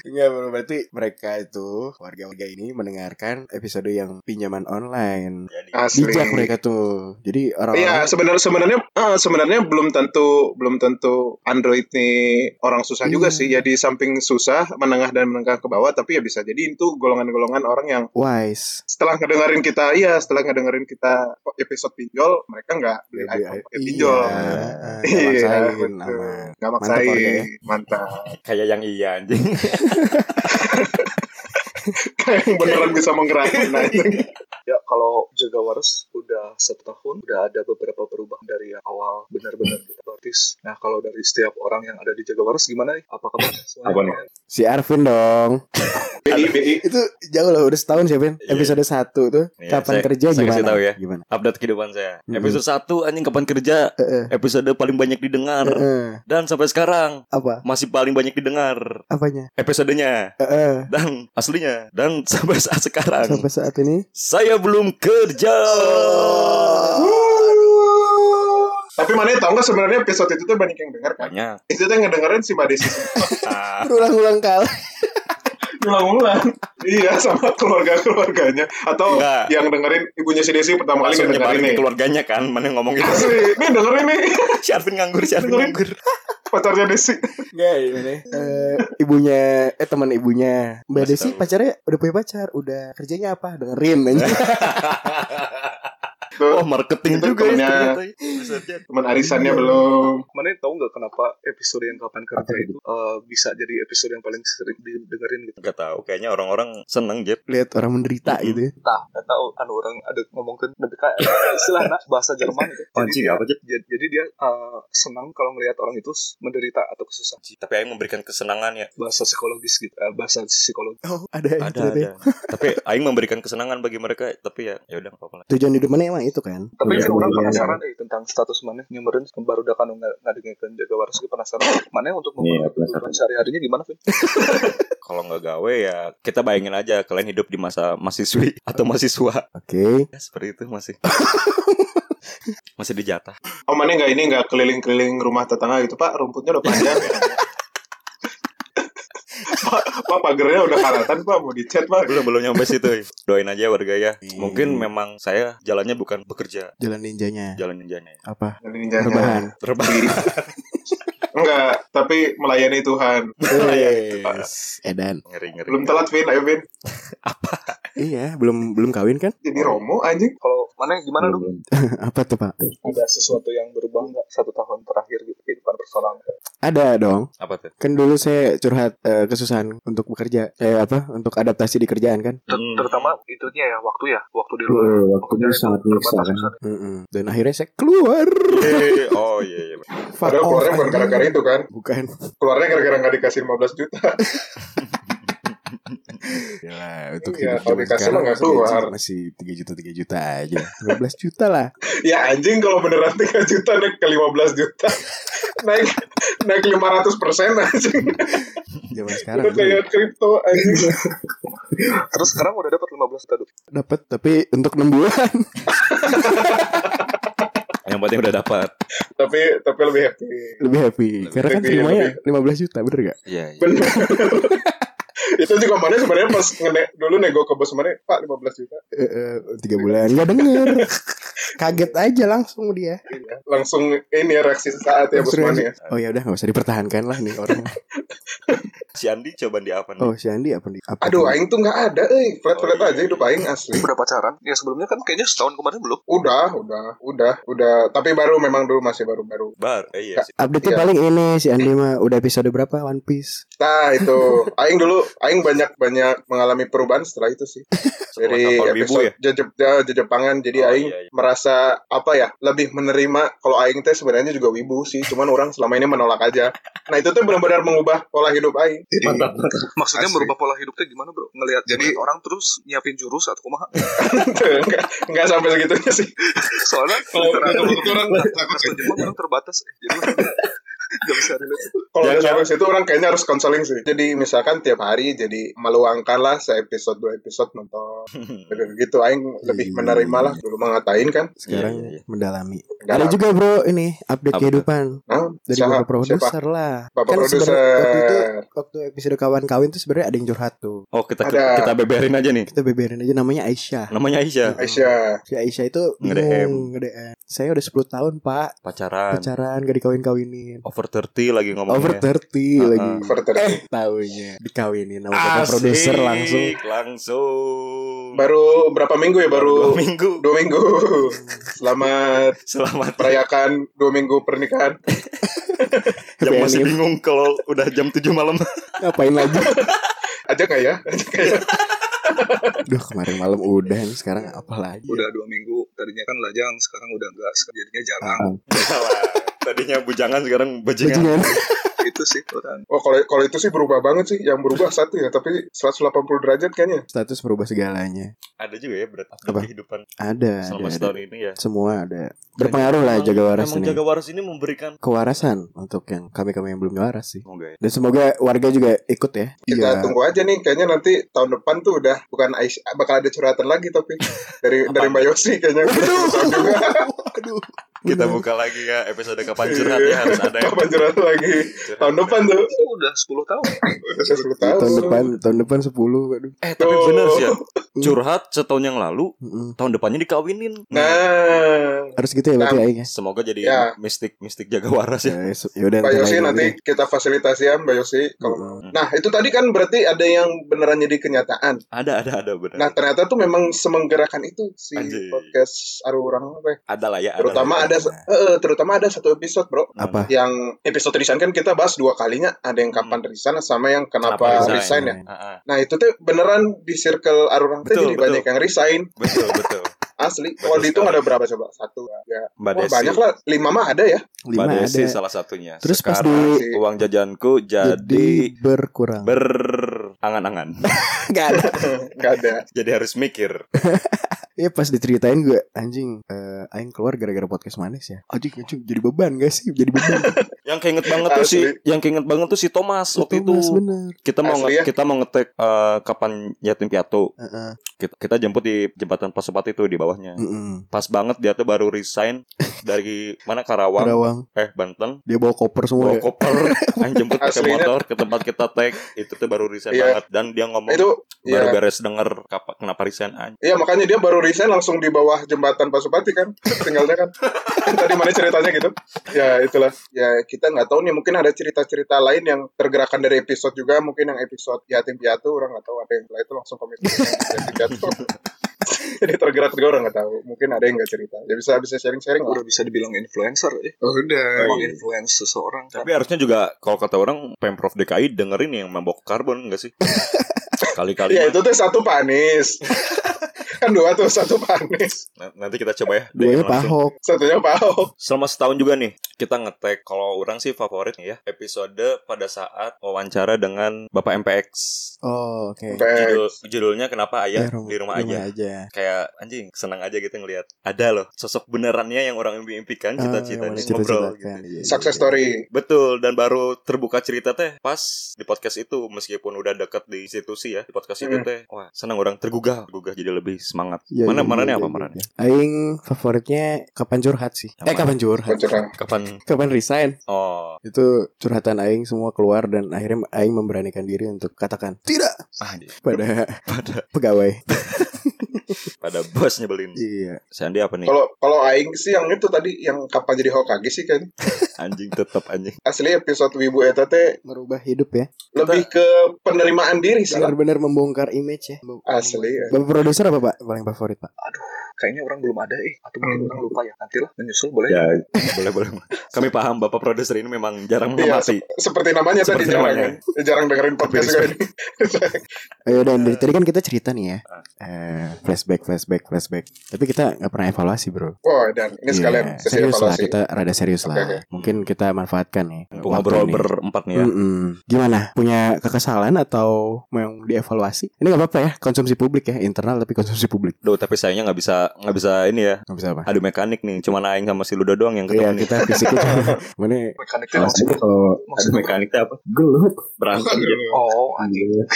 S2: Enggak, bro. berarti mereka itu warga-warga ini mendengarkan episode yang pinjaman online.
S1: Jadi
S4: asli
S2: Bijak mereka tuh. Jadi
S4: Iya
S2: orang-orang
S4: sebenarnya sebenarnya eh, sebenarnya belum tentu belum tentu Android nih orang susah juga
S2: Iya.
S4: sih ya di samping susah menengah dan menengah ke bawah tapi ya bisa jadi itu golongan-golongan orang yang
S2: wise.
S4: setelah ngedengerin kita iya setelah ngedengerin kita episode pinjol mereka nggak beli
S2: Nggak beli
S4: iPhone pakai
S2: i-
S4: pinjol
S2: iya, nggak
S4: iya
S2: maksain,
S4: betul.
S2: aman.
S4: nggak
S2: Mantap,
S4: maksain
S2: warga ya.
S4: mantap [laughs]
S1: kayak yang iya anjing. [laughs]
S4: kayak yang beneran bisa
S2: [laughs]
S4: menggerakkan anjing.
S5: Ya, kalau jaga waras udah satu tahun, udah ada beberapa perubahan dari yang awal benar-benar kita artis. Nah, kalau dari setiap orang yang ada di jaga waras gimana nih? Apa kabar? Semuanya
S4: Apa nih?
S5: kalian?
S2: Si Arvin dong. Iya.
S4: BI BI
S2: Itu jauh loh udah setahun sih, Vin.
S1: Iya.
S2: Episode 1 tuh.
S1: Iya,
S2: kapan
S1: saya-
S2: kerja
S1: saya
S2: gimana?
S1: kasih tahu ya.
S2: Gimana?
S1: Update kehidupan saya.
S2: Mm-mm.
S1: Episode 1 anjing kapan kerja?
S2: Heeh.
S1: Episode paling banyak didengar.
S2: Heeh.
S1: Dan sampai sekarang
S2: Apa?
S1: masih paling banyak didengar
S2: Apanya?
S1: episodenya
S2: Heeh.
S1: dan aslinya dan [laughs] sampai saat sekarang
S2: Sampai saat ini.
S1: saya belum kerja.
S4: Tapi mana tau nggak sebenarnya episode itu tuh banyak yang denger kan?
S1: banyak
S4: Itu tuh yang ngedengerin si Mbak Desi.
S1: Ah,
S2: Berulang-ulang kali.
S4: Ulang-ulang. iya, sama keluarga-keluarganya.
S2: Iya.
S4: Atau
S1: Enggak.
S4: yang dengerin ibunya si Desi pertama kali
S1: langsung
S4: ngedengerin
S1: nyebarin ke
S4: nih.
S2: gitu.
S1: keluarganya kan mana yang [laughs] ngomong gitu
S4: Asli, nih dengerin nih [laughs]
S1: si Arvin nganggur si Arvin nganggur
S4: pacarnya Desi.
S2: Enggak gimana Eh, ibunya eh teman ibunya. Mbak
S1: Masih
S2: Desi
S1: tahu.
S2: pacarnya udah punya pacar, udah kerjanya apa? Dengerin aja.
S1: [laughs]
S4: Tuh,
S1: oh marketing
S4: Itu
S1: juga ya
S4: temennya.
S1: ternyata bisa jadi
S4: teman arisannya
S2: Iya.
S4: belum.
S5: Mana tahu nggak kenapa episode yang kapan kerja itu eh, bisa jadi episode yang paling sering didengerin gitu?
S1: Gak tahu kayaknya orang-orang seneng Jep
S2: Lihat orang menderita
S1: Mm-mm.
S2: gitu. ya.
S5: Tah, nggak tahu kan orang ada ngomong ke lebih kayak [laughs] istilah anak bahasa Jerman itu. Jadi,
S1: Anjing, apa Jep
S5: jadi- jadi dia eh, senang kalau melihat orang itu s- menderita atau kesusahan.
S1: tapi Aing memberikan kesenangan ya
S5: Bahasa psikologis gitu, eh, bahasa psikologi.
S2: Oh, ada aja
S1: ada
S2: ternyata ya.
S1: ada [laughs] tapi Aing memberikan kesenangan bagi mereka tapi ya ya udah nggak apa-apa lah.
S2: Tujuan hidup mana emang itu kan?
S5: Tapi
S2: Iya,
S5: kan orang
S2: iya, iya.
S5: penasaran eh, tentang status mana nyamperin baru udah kanu nggak dengerin jaga waras ke penasaran
S2: Iya,
S5: mana untuk memenuhi kebutuhan sehari-harinya gimana Vin?
S1: kalau nggak gawe ya kita bayangin aja kalian hidup di masa mahasiswi [laughs] atau mahasiswa
S2: Oke.
S1: ya seperti itu [laughs] masih masih dijatah
S4: Oh, mana nggak ini nggak keliling-keliling rumah tetangga gitu Pak? Rumputnya udah panjang. Pak, Pak pagernya udah karatan Pak mau dicat Pak.
S1: belum belum nyampe situ ya. doain aja warga ya mungkin memang saya jalannya bukan bekerja
S2: Jalan ninjanya.
S1: jalan ya. ninjanya
S2: Apa?
S4: Dari
S5: Iya,
S4: ninjanya.
S2: Rebahan.
S1: terbang
S4: Enggak, tapi melayani Tuhan.
S2: Yes. Edan.
S1: Iya, ngeri ngeri
S4: Belum telat Vin, ayo Vin.
S2: Iya, belum belum kawin kan? [laughs]
S4: Jadi Romo anjing.
S5: Kalau mana gimana dong?
S2: Apa tuh, Pak?
S5: Ada sesuatu yang berubah nggak satu tahun terakhir gitu kehidupan personal?
S2: Ada dong.
S1: apa tuh
S2: Kan dulu saya curhat eh, kesusahan untuk bekerja. Eh apa? Untuk adaptasi di kerjaan kan?
S5: Ter-
S1: Hmm.
S5: terutama itunya ya waktu ya waktu di luar
S2: Eh, waktunya
S5: Pekerjaan itu
S2: sangat menyiksa
S5: terbatas
S2: kan.
S5: besar.
S2: Mm-mm. Dan akhirnya saya keluar.
S1: Yeay. oh iya iya
S2: Fuck
S4: Padahal
S2: off,
S4: keluarnya bukan
S2: oh, anjing.
S4: gara-gara itu kan.
S2: Bukan.
S4: Keluarnya gara-gara nggak dikasih 15 juta.
S2: Gila, untuk
S4: Iya,
S2: hidup
S4: kalau
S2: zaman
S4: dikasih
S2: sekarang
S4: mah nggak
S2: gaji
S4: keluar.
S2: masih 3 juta 3 juta aja. 15 juta lah.
S4: [laughs] Ya anjing kalau beneran 3 juta naik ke 15 [laughs] juta. naik naik 500 persen anjing.
S2: Zaman sekarang
S4: Udah kayak kripto anjing.
S5: Terus sekarang udah dapat 15 juta duit.
S2: dapat tapi untuk 6 bulan. [laughs]
S1: yang penting udah dapat
S4: tapi tapi lebih happy.
S2: Lebih happy. Karena kan
S4: happy,
S2: terimanya 15 juta, bener gak?
S1: iya iya.
S4: Bener. [laughs] itu juga mana sebenarnya pas ngene, dulu nego ke bos mana Pak 15 juta
S2: Eh, eh, tiga bulan nggak
S4: [laughs]
S2: denger kaget aja langsung dia
S4: Iya. langsung ini ya reaksi saat ya bos
S2: Langsung aja,
S4: mana
S2: oh ya udah nggak usah dipertahankan lah nih orang
S1: si Andi coba di apa nih
S2: oh si Andi apa nih apa tuh?
S4: Aduh, aing tuh nggak ada, eh. Flat flat
S1: Oh, iya.
S4: aja hidup aing asli.
S5: Udah pacaran? Ya sebelumnya kan kayaknya setahun kemarin belum.
S4: Udah, udah, udah, udah. Tapi baru memang dulu masih baru-baru.
S1: bar eh iya sih
S2: update
S4: Iya.
S2: paling ini si Andi mah udah episode berapa One Piece
S4: Nah itu, aing dulu, aing banyak banyak mengalami perubahan setelah itu sih.
S1: Setelah
S4: Dari
S1: kapal wibu
S4: episode
S1: ya
S4: jejep ja- jejepangan, jadi
S1: Oh,
S4: aing
S1: iya, iya.
S4: merasa apa ya lebih menerima kalau aing teh sebenarnya juga wibu sih, cuman orang selama ini menolak aja. Nah itu tuh benar-benar mengubah pola hidup aing. Jadi
S5: Maksudnya
S4: Asli.
S5: merubah pola hidupnya gimana bro? Ngelihat jadi orang terus nyiapin jurus atau kumaha?
S4: nggak nggak sampai segitunya sih.
S5: Soalnya
S4: Kalau
S5: literasi-
S4: menurut orang takut
S5: literasi Jepang orang terbatas. eh. Jadi orang [laughs] nggak bisa relate.
S4: Kalau
S1: Ya,
S4: udah
S1: ya.
S4: sampai situ orang kayaknya harus konseling sih. Jadi misalkan tiap hari jadi meluangkanlah se episode dua episode
S2: [laughs]
S4: nonton gitu aing lebih
S2: Iya.
S4: menerima lah dulu mengatain kan.
S2: sekarang
S1: Iya, iya, iya.
S2: mendalami
S4: Mendalami.
S2: ada juga bro ini update
S1: Apa
S2: kehidupan
S4: Nah,
S2: Iya, dari
S4: siapa-
S2: bapak
S4: siapa?
S2: produser lah
S4: Bapak
S2: sebenarnya
S4: produser.
S2: waktu itu waktu episode kawan kawin tuh sebenarnya ada yang curhat tuh
S1: oh kita
S4: Ada.
S1: kita beberin aja nih
S2: kita beberin aja namanya Aisyah
S1: namanya Aisyah
S4: Aisyah.
S2: si Aisyah itu
S1: Nge-DM.
S2: bingung nge-DM. saya udah 10 tahun pak
S1: pacaran
S2: pacaran gak dikawin-kawinin
S1: over 30 lagi ngomongnya
S2: Over 30
S1: Heeh.
S2: lagi.
S4: Over 30.
S2: Eh, tahunya dikawinin sama bapak produser langsung.
S1: langsung
S4: Baru berapa minggu ya? Baru
S1: dua minggu
S4: dua minggu. Selamat
S1: selamat
S4: merayakan dua minggu pernikahan.
S1: yang masih
S2: Happy
S1: bingung kalau udah jam 7 malam
S2: Ngapain lagi?
S4: Aja nggak ya? Aja nggak ya?
S2: Duh, kemarin malam udah nih sekarang apa lagi?
S5: Udah dua minggu. Tadinya kan lajang, sekarang udah enggak. Jadinya jarang.
S2: Ah,
S1: Salah. Iya, tadinya bujangan sekarang bajingan
S2: Bajingan.
S4: Ah.
S5: Itu sih orang.
S4: Oh, kalau kalau itu sih berubah banget sih. Yang berubah satu ya, tapi 180 derajat kayaknya.
S2: Status berubah segalanya.
S1: ada juga ya berat
S2: Apa?
S1: kehidupan
S2: Ada, ada,
S1: selama
S2: ada.
S1: setahun ini ya
S2: Semua ada. Berpengaruh lah
S1: Emang-
S2: jaga waras
S1: emang
S2: ini.
S1: jaga waras ini memberikan
S2: Kewarasan untuk yang kami-kami yang belum waras sih.
S1: semoga ya
S2: Dan semoga warga juga ikut ya.
S4: Kita
S2: [laughs]
S4: tunggu aja nih, kayaknya nanti tahun depan tuh udah bukan Aisyah, bakal ada curhatan lagi tapi dari dari
S2: [laughs]
S1: Apaan?
S4: Mbak Yosi kayaknya.
S2: Aduh. Aduh.
S1: Kita
S2: Benar.
S1: buka lagi ya episode kapan curhat ya harus ada yang
S4: Kapan curhat lagi?
S1: curhat.
S4: Tahun depan tuh.
S5: Itu udah 10 tahun.
S4: Ah. Udah 10 tahun.
S2: tahun depan tahun depan 10 aduh.
S1: Eh tapi
S4: Tuh.
S1: bener sih ya. Curhat setahun yang lalu,
S2: Mm-mm.
S1: tahun depannya dikawinin. Eh,
S4: Nah,
S2: Harus gitu ya berarti
S4: Nah.
S2: aing ya.
S1: Semoga jadi
S4: Ya.
S1: mistik mistik jaga waras ya.
S2: Ya, so- Yaudah
S4: Mbak
S2: ntar
S4: Yosi
S2: lain
S4: nanti
S2: lagi Hmm. deh.
S4: kita fasilitasi ya Mbak Yosi kalau mau.
S2: Mm-mm.
S4: Nah, itu tadi kan berarti ada yang beneran jadi kenyataan.
S1: Ada ada ada benar.
S4: Nah, ternyata tuh memang semenggerakan itu si
S1: Anjay.
S4: podcast Aru Orang apa ya.
S1: ada lah ya. ada Nah,
S4: Terutama
S1: lah ya.
S4: ada eh, eh, terutama ada satu episode, Bro.
S2: Apa?
S4: Yang episode resign kan kita bahas dua kalinya, ada yang kapan resign sama yang kenapa,
S1: Kenapa resign.
S4: resign ya.
S1: Ah, ah.
S4: Nah, itu tuh beneran di circle Aru Orang tuh
S1: Betul,
S4: jadi
S1: betul.
S4: banyak yang resign.
S1: Betul betul.
S4: Asli.
S1: Betul
S4: Kalau dihitung
S1: sekali.
S4: ada berapa coba? Satu, tiga.
S1: Mbak
S4: Wah,
S1: Desi.
S4: banyak lah. Lima mah ada ya.
S1: Mbak
S2: Lima
S1: Desi
S2: ada.
S1: salah satunya.
S2: Terus pas
S1: Sekarang
S2: di-
S1: uang jajanku
S2: Jadi
S1: jadi [laughs]
S2: berkurang.
S1: berangan-angan.
S2: Gak ada.
S4: Gak ada.
S1: [laughs] jadi harus mikir.
S2: [laughs] Iya pas diceritain gue anjing eh, aing keluar gara-gara podcast manis ya. Anjing anjing jadi beban gak sih? Jadi beban.
S1: Yang keinget banget tuh si
S4: Asli.
S1: yang keinget banget tuh si Thomas waktu itu.
S2: Mas, bener.
S1: Kita mau nge-
S4: Asli ya.
S1: kita mau ngetek eh, kapan yatim piatu.
S2: Heeh.
S1: Kita, kita jemput di jembatan Pasopati itu di bawahnya.
S2: Mm-mm.
S1: Pas banget dia tuh baru resign dari mana Karawang,
S2: Karawang.
S1: eh Banten.
S2: Dia bawa koper semua.
S1: Bawa
S2: ya. [laughs]
S1: koper, yang jemput pakai
S4: Aslinya.
S1: motor ke tempat kita tag itu tuh baru resign
S4: Iya.
S1: banget dan dia ngomong
S4: Itu
S1: baru
S4: ya.
S1: beres denger kapa- kenapa resign anjing.
S4: Iya makanya dia baru resign langsung di bawah jembatan Pasupati kan
S1: [laughs]
S4: tinggalnya kan tadi mana ceritanya gitu ya itulah ya kita nggak tahu nih mungkin ada cerita-cerita lain yang tergerakkan dari episode juga mungkin yang episode yatim piatu orang nggak tahu ada yang setelah itu langsung
S1: [laughs]
S4: komitmen yatim piatu [laughs] jadi tergerak juga orang nggak tahu mungkin ada yang nggak cerita ya bisa bisa sharing-sharing lah
S5: Udah bisa dibilang influencer ya.
S4: Oh, udah
S5: Emang influence seseorang kan.
S1: Tapi
S4: Iya.
S1: harusnya juga kalau kata orang Pemprov DKI dengerin yang membok karbon enggak sih?
S2: [laughs]
S1: Kali-kali
S4: ya
S1: mah.
S4: itu tuh satu panis kan dua tuh satu panis
S1: N- nanti kita coba ya. DM
S2: Duanya
S1: langsung.
S2: pahok.
S4: satunya Pak Ahok.
S1: Selama setahun juga nih kita ngetek kalau orang sih favorit ya episode pada saat wawancara dengan Bapak MPX.
S2: Oh, oke.
S4: Baik.
S1: Judul judulnya kenapa ayah
S2: Eh, rum-
S1: ya, di rumah, aja. Kayak anjing senang aja gitu ngelihat ada loh sosok benerannya yang orang impi-impikan
S2: Ah,
S1: cita-citanya
S2: yang mana
S1: ngobrol gitu.
S2: cita-citakan. Iya, iya,
S4: success
S2: iya.
S4: story
S1: Betul dan baru terbuka cerita teh pas di podcast itu meskipun udah deket di institusi ya di podcast itu
S4: Hmm.
S1: teh wah senang orang tergugah tergugah jadi lebih semangat
S2: Iya,
S1: mana
S2: iya,
S1: mana
S2: iya,
S1: apa
S2: iya,
S1: mana
S2: iya. Aing favoritnya kapan curhat sih.
S1: Yang
S2: Eh, kapan curhat?
S4: Pencerahan.
S1: kapan
S2: Kapan resign?
S1: oh
S2: Itu curhatan aing semua keluar dan akhirnya aing memberanikan diri untuk katakan tidak
S1: anjing.
S2: pada
S1: pada
S2: [laughs]
S1: [laughs]
S2: pegawai.
S1: pada bos nyebelin
S2: Iya.
S1: Sandi apa nih
S4: Kalau kalau aing sih yang itu tadi yang kapan jadi Hokage sih kan.
S1: anjing tetap
S4: [laughs]
S1: anjing
S4: Asli episode Wibu eta teh
S2: Merubah hidup ya.
S4: lebih ke penerimaan diri sih. lah.
S2: Benar-benar membongkar image ya.
S4: Asli. ya.
S2: Bapak produser apa Pak paling favorit Pak?
S5: Kayaknya orang belum ada eh. Atau mungkin
S4: Hmm.
S5: orang lupa ya. Nantilah menyusul boleh.
S1: ya boleh boleh kami paham bapak produser ini memang jarang
S4: Iya,
S1: mengamati
S4: seperti namanya
S1: Seperti
S4: tadi jarang
S1: namanya.
S4: kan. Jarang dengerin podcast
S1: Tapi
S4: juga ini.
S2: Ayo dan
S4: Eh.
S2: dari tadi kan kita cerita nih ya.
S4: Ah.
S2: Eh, flashback, flashback, flashback. Tapi kita nggak pernah evaluasi bro.
S4: Wah, dan ini
S2: Iya,
S4: sekalian sesi
S2: serius lah
S4: evaluasi.
S2: kita rada serius
S4: Oke,
S2: lah.
S4: oke.
S2: Mungkin kita manfaatkan nih. eh,
S1: Mumpung
S2: waktu
S1: ngobrol
S2: ini.
S1: berempat nih ya
S2: Mm-mm. Gimana? Punya kekesalan atau mau yang dievaluasi? Ini nggak apa-apa ya, konsumsi publik ya, internal tapi konsumsi publik.
S1: Duh, tapi sayangnya nggak bisa nggak bisa ini ya
S2: Nggak bisa apa?
S1: adu mekanik nih cuman aing sama si Ludo doang yang ketemu
S2: Iya,
S1: nih.
S2: kita fisiknya
S1: [laughs]
S2: cuma- Mana
S5: Mekaniknya
S4: Ah.
S5: langsung.
S2: maksudnya kalau
S1: adu
S5: Maksudnya
S1: mekaniknya apa
S2: gelut.
S1: berantem
S4: gitu.
S5: Oh, anjing.
S4: Iya.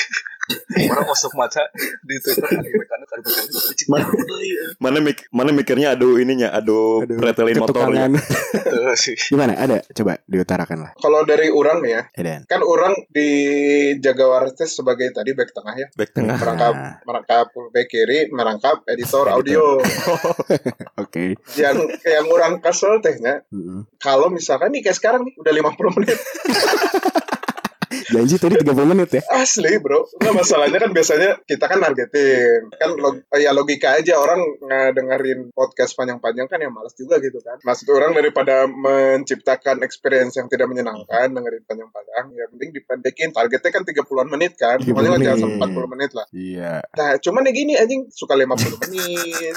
S5: [laughs] Orang masuk mata di Twitter ada mekanik ada mekanik. Anjing, deui, eh.
S1: mana mik mana mikirnya aduh ininya aduh,
S2: Aduh,
S1: pretelin ya. motornya
S2: ketukangan.
S5: Teu Gitu sih.
S2: Gimana? Ada? Coba diutarakan lah.
S4: Kalau dari orang ya,
S2: Edan.
S4: kan orang di Jagawaras teh sebagai tadi back tengah ya,
S1: back tengah
S4: merangkap
S2: Nah.
S4: merangkap back kiri, merangkap
S2: Editor.
S4: editor audio.
S2: Oke.
S4: yang yang orang kesel tehnya,
S2: Mm-mm.
S4: kalau misalkan nih kayak sekarang nih udah 50 menit
S2: Janji tadi 30 menit ya.
S4: Asli bro, nggak masalahnya kan biasanya kita kan nargetin kan log- ya logika aja orang ngedengerin podcast panjang-panjang kan yang males juga gitu kan. Maksud orang daripada menciptakan experience yang tidak menyenangkan dengerin panjang-panjang, ya mending dipendekin targetnya kan 30-an menit kan,
S2: 30
S4: pokoknya nggak jangan sampai
S2: menit.
S4: 40 menit lah.
S2: Iya.
S4: Nah cuman ya gini anjing suka
S1: [laughs]
S4: 50 menit,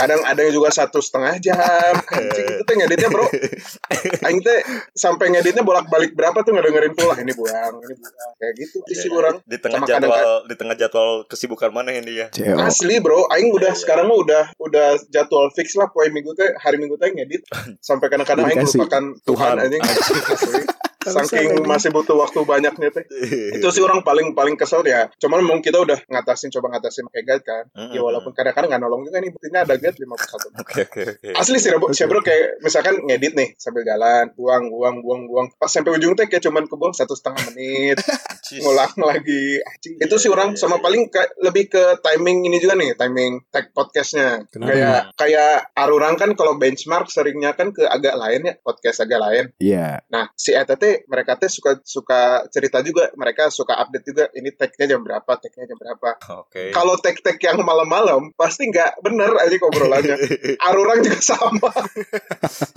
S4: kadang ada yang juga satu setengah jam, anjing itu teh ngeditnya bro, Aing teh sampai ngeditnya bolak-balik berapa tuh ngedengerin pula ini buang, ini buang kayak gitu
S1: Iya,
S4: isi orang.
S1: di tengah
S4: Sama
S1: jadwal
S4: kadang-kadang-
S1: di tengah jadwal kesibukan mana ini ya
S2: CO.
S4: Asli bro, aing udah
S1: Iya, iya.
S4: sekarang mah udah udah jadwal fix lah
S1: [laughs]
S4: poin minggu teh hari minggu teh ngedit sampai kadang-kadang aing
S2: Dikasih.
S4: melupakan Tuhan
S1: Tuhan.
S4: anjing. Asli. saking masih butuh waktu banyaknya teh itu sih orang paling paling kesel ya cuman mungkin kita udah ngatasin coba ngatasin pakai guide kan ya walaupun kadang-kadang nggak nolong juga nih buktinya ada guide 51
S1: Oke oke oke.
S4: Asli sih, Bro. Saya bro kayak misalkan ngedit nih sambil jalan, buang, buang, buang, buang. Pas sampai ujung teh kayak cuman kebuang satu setengah menit,
S1: Jeez.
S4: ngulang lagi. Anjing. Itu sih orang sama paling ke- lebih ke timing ini juga nih, timing tag podcastnya.
S2: Kenapa?
S4: Kayak kayak Arurang kan kalau benchmark seringnya kan ke agak lain ya, podcast agak lain.
S2: Iya.
S4: Nah, si Eta teh mereka teh suka suka cerita juga, mereka suka update juga ini tagnya jam berapa, tagnya jam berapa.
S1: Oke.
S4: Kalau tag-tag yang malam-malam pasti nggak bener aja
S1: [laughs]
S4: obrolannya. Arurang juga sama.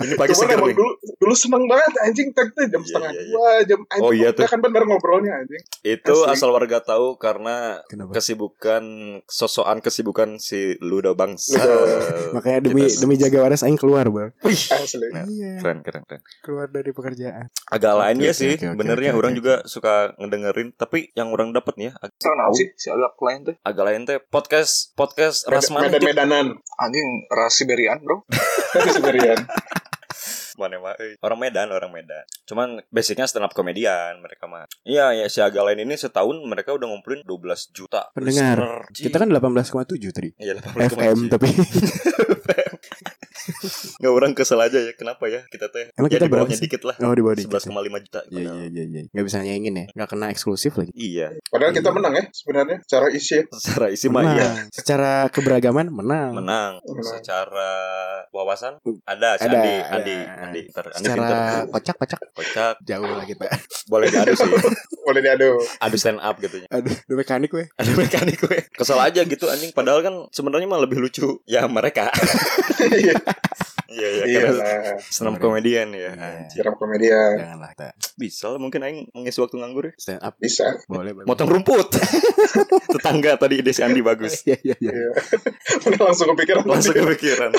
S1: Ini pagi
S4: Cuman
S1: seger
S4: emang
S1: nih.
S4: dulu, dulu seneng banget anjing tag tuh jam
S1: Iya,
S4: setengah
S1: iya, iya.
S4: dua jam anjing
S1: Oh, iya
S4: nggak
S1: tuh.
S4: kan bener ngobrolnya anjing
S1: Itu
S4: Asli.
S1: asal warga tahu karena
S2: Kenapa?
S1: kesibukan sosokan kesibukan si Ludo bangsa.
S4: Ludo.
S2: Makanya demi
S1: Kita-
S2: demi jaga waras aing keluar, Bang.
S1: Wih.
S4: asli
S1: Nah,
S2: Iya,
S1: Keren keren keren.
S2: keluar dari pekerjaan.
S1: Agak
S2: Oke,
S1: lain ya
S2: oke,
S1: sih.
S2: oke, oke,
S1: Benernya
S2: oke,
S1: orang
S2: oke.
S1: juga suka ngedengerin. Tapi yang orang dapat nih ya ag-
S5: Itu kenapa sih si agak lain tuh?
S1: agak lain teh podcast podcast
S4: Med-
S1: Rasmani tuh.
S4: medan-medanan
S5: Anjing ras Siberian,
S4: [laughs]
S5: Bro.
S4: tapi sebenarnya
S1: Mana mah, eh. Orang Medan, orang Medan. Cuman basicnya stand up komedian mereka mah. Iya, ya si agak lain ini setahun mereka udah ngumpulin 12 juta
S2: Pendengar.
S1: listener. Ji.
S2: Kita kan 18,7 tadi.
S1: Iya, 18,7.
S2: FM
S1: [laughs]
S2: tapi [laughs]
S1: Nggak orang kesel aja ya Kenapa ya Kita teh
S2: Emang
S1: Ya
S2: kita
S1: di bawahnya
S2: berapa sih?
S1: dikit lah
S2: oh di body.
S1: 11,5 juta
S2: Iya
S1: padahal.
S2: iya iya iya. Enggak bisa nyaingin ya. Enggak kena eksklusif lagi.
S1: Iya
S4: padahal kita
S2: Iya.
S4: menang ya sebenarnya cara isi ya.
S1: Secara isi mah
S2: Menang.
S1: iya
S2: Secara keberagaman menang.
S1: Menang
S4: Menang.
S1: Secara wawasan
S2: Hmm.
S1: Ada si
S2: Ada,
S1: Andi
S2: ada.
S1: Andi Andi Ntar, Andi pinter
S2: Secara kocak-kocak
S1: Kocak
S2: jauh lah kita.
S1: Boleh diadu sih
S4: boleh diadu
S1: Adu stand up gitu ya
S2: [laughs] Aduh, udah mekanik weh.
S1: [laughs] Ada mekanik gue Kesel aja gitu anjing Padahal kan sebenarnya mah lebih lucu Ya mereka Iya iya
S4: iya
S1: Karena
S4: lah
S1: senam komedian ya
S2: Iya.
S1: anjing.
S4: jarum komedian
S2: Janganlah kita
S1: Bisa lah mungkin Aing mengisi waktu nganggur ya
S2: stand up
S4: bisa
S2: boleh boleh.
S1: Motong rumput [laughs] Tetangga tadi ide si Andi bagus
S2: [laughs] Iya iya iya.
S4: Iya. [laughs] Mana langsung kepikiran
S1: langsung
S4: tadi.
S1: kepikiran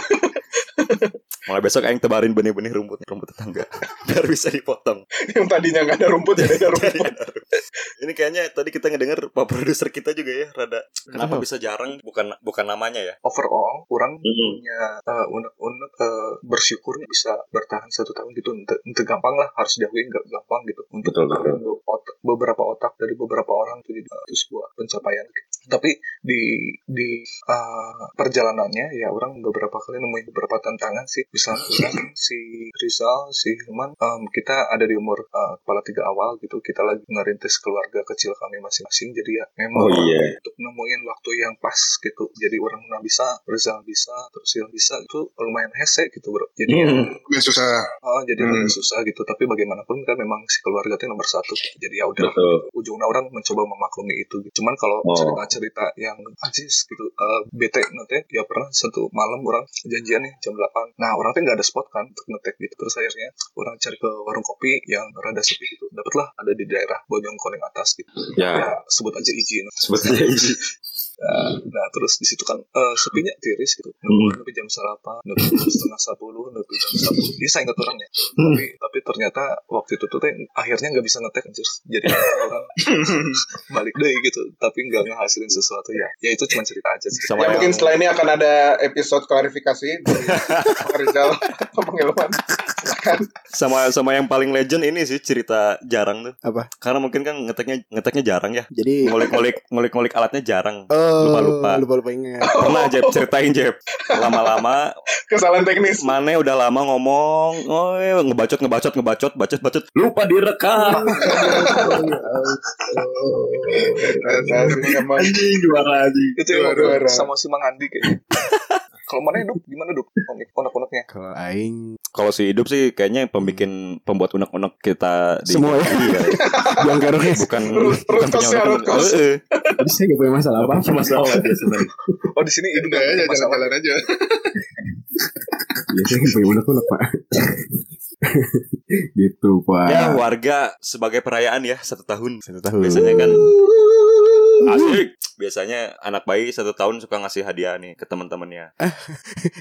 S1: mulai besok aing tebarin benih-benih rumput rumput tetangga [laughs] biar bisa dipotong
S4: yang tadinya nggak ada rumput jadi ada rumput
S1: [laughs] Jadi ada rumput. ini kayaknya tadi kita ngedenger pak produser kita juga ya rada kenapa bisa jarang bukan bukan namanya ya
S5: Overall, orang
S1: Mm-mm.
S5: punya eh, unek-unek eh, bersyukurnya bisa bertahan satu tahun gitu. Ente, ente gampang lah, harus diakui nggak gampang gitu. Untuk
S1: Betul, betul.
S5: untuk otak- beberapa otak dari beberapa orang itu jadi eh, itu sebuah pencapaian. Tapi di di eh, perjalanannya ya orang beberapa kali nemuin beberapa tantangan sih. Misalnya orang, si Rizal, si Hilman, em, kita ada di umur eh, kepala tiga awal gitu. Kita lagi ngerintis keluarga kecil kami masing-masing. Jadi ya memang
S1: Oh, iya.
S5: untuk nemuin waktu yang pas gitu jadi orang nggak bisa Rizal bisa terus yang bisa itu lumayan hese gitu bro jadi
S1: Iya.
S5: ya,
S1: Hmm.
S4: Nggak susah
S5: ah, jadi
S4: Hmm.
S5: agak susah gitu tapi bagaimanapun kan memang si keluarga itu nomor satu gitu. jadi ya udah ujungnya orang mencoba memaklumi itu gitu. cuman kalau
S1: Oh.
S5: cerita-cerita yang ajis gitu eh, bete nanti ya pernah satu malam orang janjian nih jam 8 nah orang tuh nggak ada spot kan untuk ngetek gitu terus akhirnya orang cari ke warung kopi yang rada sepi gitu dapatlah ada di daerah Bojong Koneng atas gitu
S1: ya
S5: ya sebut aja izin
S1: sebetulnya
S5: [laughs]
S1: ini
S5: Nah, nah, terus di situ kan eh, sepinya tiris gitu. Nunggu lebih jam sarapan, nunggu jam setengah sepuluh, nunggu jam sepuluh. Iya saya ingat orangnya. Tapi tapi ternyata waktu itu tuh teh akhirnya nggak bisa ngetek anjir. [laughs] Jadi orang balik deh gitu. Tapi nggak ngehasilin sesuatu ya. Ya itu cuma cerita aja sih.
S1: Sama
S4: ya
S1: yang-
S4: mungkin setelah ini akan ada episode klarifikasi
S2: [laughs]
S4: dari Bang Rizal pengilman silakan
S1: sama sama yang paling legend ini sih cerita jarang tuh
S2: Apa?
S1: karena mungkin kan ngeteknya ngeteknya jarang ya
S2: Jadi eh,
S1: ngulik-ngulik ngulik-ngulik alatnya jarang
S2: Oh,
S1: Lupa-lupa.
S2: lupa-lupa ingat.
S1: pernah Jeb ceritain Jeb lama-lama
S4: kesalahan teknis
S1: Mane udah lama ngomong, oh, iya, ngebacot ngebacot ngebacot bacot bacot. Lupa direkam.
S4: Nah, sih, emang
S1: Anjing juara anjing.
S5: Itu yang
S4: Aduh,
S5: ngobrol
S4: aduh.
S5: sama si Mang Andi [laughs] kayaknya. Kalau mana hidup gimana hidup? Onak-onaknya.
S2: Kalau aing
S1: Kalau si hidup sih kayaknya pembikin pembuat unek-unek kita di
S2: Semua ya?
S1: Iya.
S2: yang garuk ya.
S1: bukan
S4: Root-
S1: bukan
S4: root cause ya, root
S1: unek-unek.
S4: cause.
S1: Heeh.
S2: Jadi saya gak punya masalah apa.
S1: masalah dia sebenarnya.
S5: Oh di sini hidup nggak punya masalah.
S4: aja
S2: Iya, saya gak punya unek-unek, Pak. [laughs] gitu, Pak.
S1: Ya warga sebagai perayaan ya satu tahun.
S2: Satu tahun.
S1: Biasanya kan asik. Biasanya anak bayi satu tahun suka ngasih hadiah nih ke teman-temannya.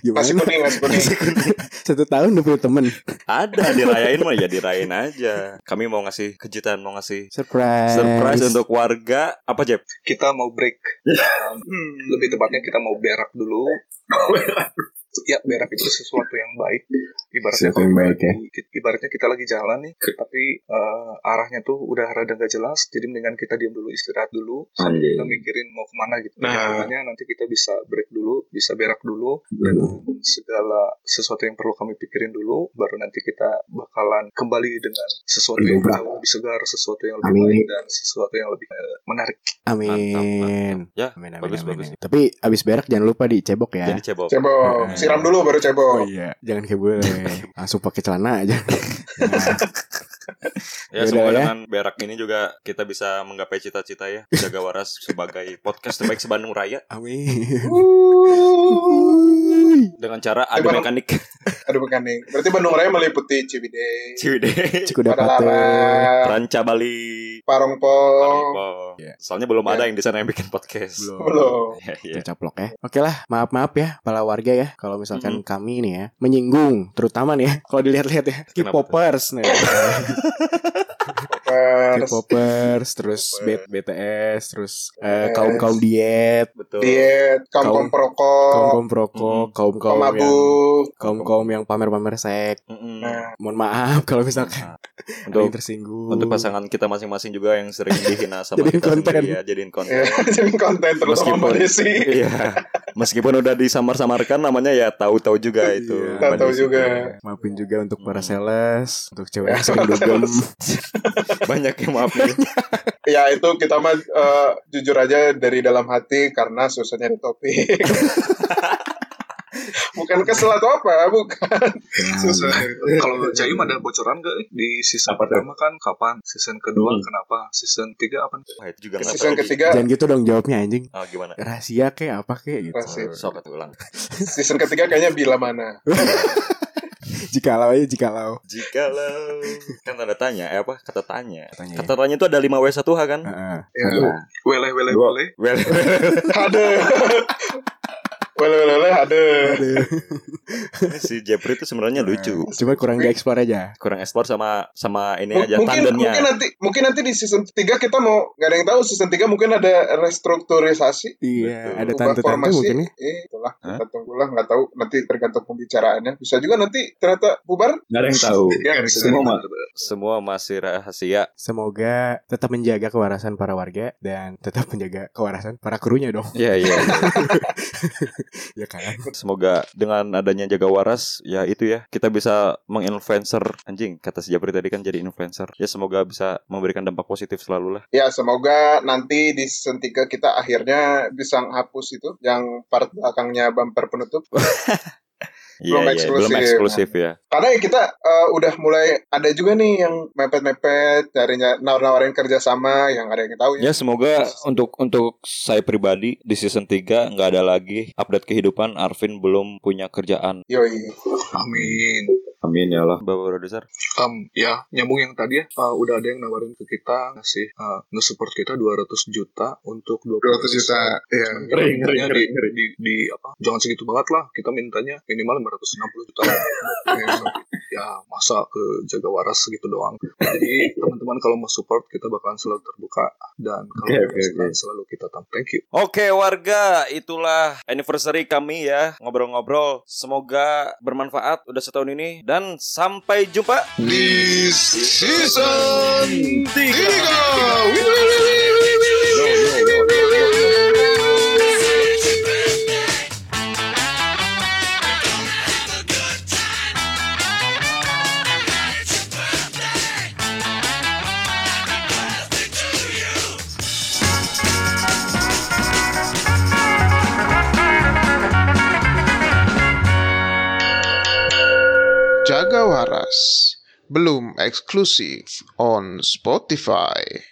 S2: Gimana?
S4: nasi kuning nasi
S2: [laughs]
S4: kuning
S2: Satu tahun udah punya temen.
S1: Ada [laughs] dirayain mah ya dirayain aja. Kami mau ngasih kejutan, mau ngasih
S2: Surprise.
S1: surprise untuk warga apa Jeb?
S6: [laughs]
S5: Kita mau break. Um,
S4: Hmm.
S5: Lebih tepatnya kita mau berak dulu. ya berak itu sesuatu yang baik ibaratnya
S6: Sesuatu yang
S5: kalau
S6: baik, ya.
S5: kita- ibaratnya kita lagi jalan nih tapi eh, arahnya tuh udah rada nggak jelas jadi mendingan kita diam dulu istirahat dulu sambil
S6: Anjing.
S5: kita mikirin mau kemana gitu
S4: Nah.
S5: nah. nanti kita bisa break dulu bisa berak dulu
S6: Hmm.
S5: segala sesuatu yang perlu kami pikirin dulu baru nanti kita bakalan kembali dengan sesuatu yang
S6: Mendobrak.
S5: jauh lebih segar sesuatu yang lebih
S6: Amin.
S5: baik dan sesuatu yang lebih eh, menarik
S2: Amin.
S1: Ya,
S2: Amin, amin,
S1: Bagus,
S2: amin,
S1: bagus.
S2: amin. Tapi abis berak jangan lupa dicebok ya.
S1: jadi cebok.
S4: Cebok,
S2: Eh.
S4: siram dulu baru
S2: Oh
S4: cebok.
S2: iya, jangan kayak gue. Langsung pakai celana [laughs] aja.
S1: Ya,
S2: Yaudah
S1: semoga
S2: ya.
S1: dengan berak ini juga kita bisa menggapai cita-cita ya. Jaga waras sebagai podcast terbaik sebandung raya
S2: Amin.
S4: Uh,
S1: dengan cara adu
S4: Coba-
S1: mekanik. [laughs]
S4: Aduh bukan nih. Berarti Bandung Raya meliputi Ciwidey,
S1: Ciwidey,
S2: Cukup dapat
S4: Padalarang,
S1: Ranca Bali,
S4: Parongpong.
S1: Paripong.
S2: Iya.
S1: Soalnya belum
S4: Iya.
S1: ada yang di sana yang bikin podcast.
S4: Oh.
S1: [laughs]
S4: Belum.
S1: Iya, iya.
S2: Itu caplok ya. Oke lah, maaf maaf ya para warga ya. Kalau misalkan kami ini ya menyinggung, terutama nih ya. [laughs] Kalau dilihat-lihat ya, K-popers nih.
S4: Terus
S2: K-popers, terus B- BTS, terus kaum kaum diet,
S1: Betul.
S4: diet, kaum kaum
S2: Kaum- kaum
S4: perokok,
S2: kaum perokok,
S1: Mm-mm.
S2: kaum kaum yang
S4: pemabuk.
S2: kaum kaum yang pamer pamer seks.
S1: Mm-mm.
S4: Nah,
S2: Mohon maaf [laughs] kalau misalkan ada yang
S1: Untuk
S2: tersinggung. Iya,
S1: untuk pasangan kita masing-masing juga yang sering dihina sama
S2: Jadiin
S1: kita
S2: konten.
S1: sendiri ya, jadiin konten.
S2: iya.
S4: ya, [laughs] jadi konten terutama
S1: Meskipun-
S4: Mbak Desi.
S1: Iya. Meskipun udah disamar-samarkan namanya ya tahu-tahu juga itu.
S2: Iya.
S1: Bukan
S4: Tahu
S1: di situ.
S4: juga.
S2: Maafin juga untuk para
S1: Mm.
S2: sales, untuk cewek yang
S4: Ya,
S2: sering
S4: para
S2: dugem.
S4: sales.
S1: Banyak yang maafin.
S4: Ya itu kita mah eh, jujur aja dari dalam hati karena susahnya di
S2: [laughs]
S4: topik. bukan kesel atau apa, bukan. Susah.
S5: kalau Jaim ada bocoran gak di season
S6: Apa tuh?
S5: pertama kan kapan season kedua
S6: Hmm.
S5: kenapa season tiga apa
S1: Wah, itu juga
S4: Ke
S1: nggak
S4: season
S1: tahu lagi.
S4: ketiga,
S2: Jangan gitu dong jawabnya anjing.
S1: Ah, gimana?
S2: Ya. Rahasia kayak apa kayak gitu.
S4: Rahasia.
S1: Sok atau ulang.
S4: season ketiga kayaknya bila mana?
S2: Jikalau aja jikalau.
S1: Jikalau kan tanda tanya, eh apa? Kata tanya.
S2: Katanya Ah. ya.
S1: Kata tanya itu ada 5 W 1 H kan?
S2: Heeh.
S5: ya weleh weleh
S6: Dua.
S5: weleh
S1: Well, [laughs]
S4: ada boleh boleh boleh ada
S2: Aduh.
S1: si Jeffrey itu sebenarnya lucu.
S2: Cuma kurang dieksplor aja.
S1: Kurang eksplor sama sama ini
S4: M-
S1: aja
S4: Oh, mungkin
S1: tandemnya.
S4: mungkin nanti mungkin nanti di season 3 kita mau nggak ada yang tahu season 3 mungkin ada
S2: Iya,
S4: restrukturisasi
S1: Betul.
S2: ada
S4: ubah
S2: tante-tante
S4: formasi
S2: mungkin ya.
S4: eh itulah
S1: Hah?
S4: kita tunggulah nggak tahu nanti tergantung pembicaraannya bisa juga nanti ternyata bubar Iya,
S6: Nggak ada yang tahu.
S5: ya
S4: Nggak ada
S5: bisa
S6: Semua mah.
S1: Semua masih rahasia.
S2: Semoga tetap menjaga kewarasan para warga dan tetap menjaga kewarasan para krunya dong. [laughs]
S1: Iya, iya.
S2: ya kan?
S1: Semoga dengan adanya jaga waras ya itu ya kita bisa menginfluencer anjing kata si Jabri tadi kan jadi influencer ya semoga bisa memberikan dampak positif selalu lah
S4: ya semoga nanti di season 3 kita akhirnya bisa hapus itu yang part belakangnya bumper penutup
S1: iya
S4: Belum
S1: iya belum
S4: eksklusif.
S1: eksklusif ya
S4: Karena ya kita eh, udah mulai ada juga nih yang mepet-mepet carinya nawar-nawarin kerjasama yang ada yang tahu ya.
S1: ya semoga untuk untuk saya pribadi di season 3 nggak ada lagi update kehidupan Arvin belum punya kerjaan
S4: Yoi.
S5: amin
S6: Amin ya Allah.
S1: Bapak Produser
S5: Um, ya nyambung yang tadi ya uh, udah ada yang nawarin ke kita ngasih uh, nge-support kita 200 juta untuk 20
S4: 200 juta. Iya.
S5: Cuman kita
S6: Ngeri,
S5: mintanya
S6: ngeri,
S5: di, di, di apa jangan segitu banget lah kita mintanya minimal 560 juta [laughs] ya masa ke jaga waras segitu doang jadi teman-teman kalau mau support kita bakalan selalu terbuka dan kalau
S6: Oke,
S5: ada
S6: oke,
S5: masukan,
S6: oke.
S5: selalu kita tam thank you
S1: Oke warga, itulah anniversary kami ya Ngobrol-ngobrol, semoga bermanfaat udah setahun ini Dan sampai jumpa
S4: Di season 3. Jaga waras. Belum eksklusif on Spotify.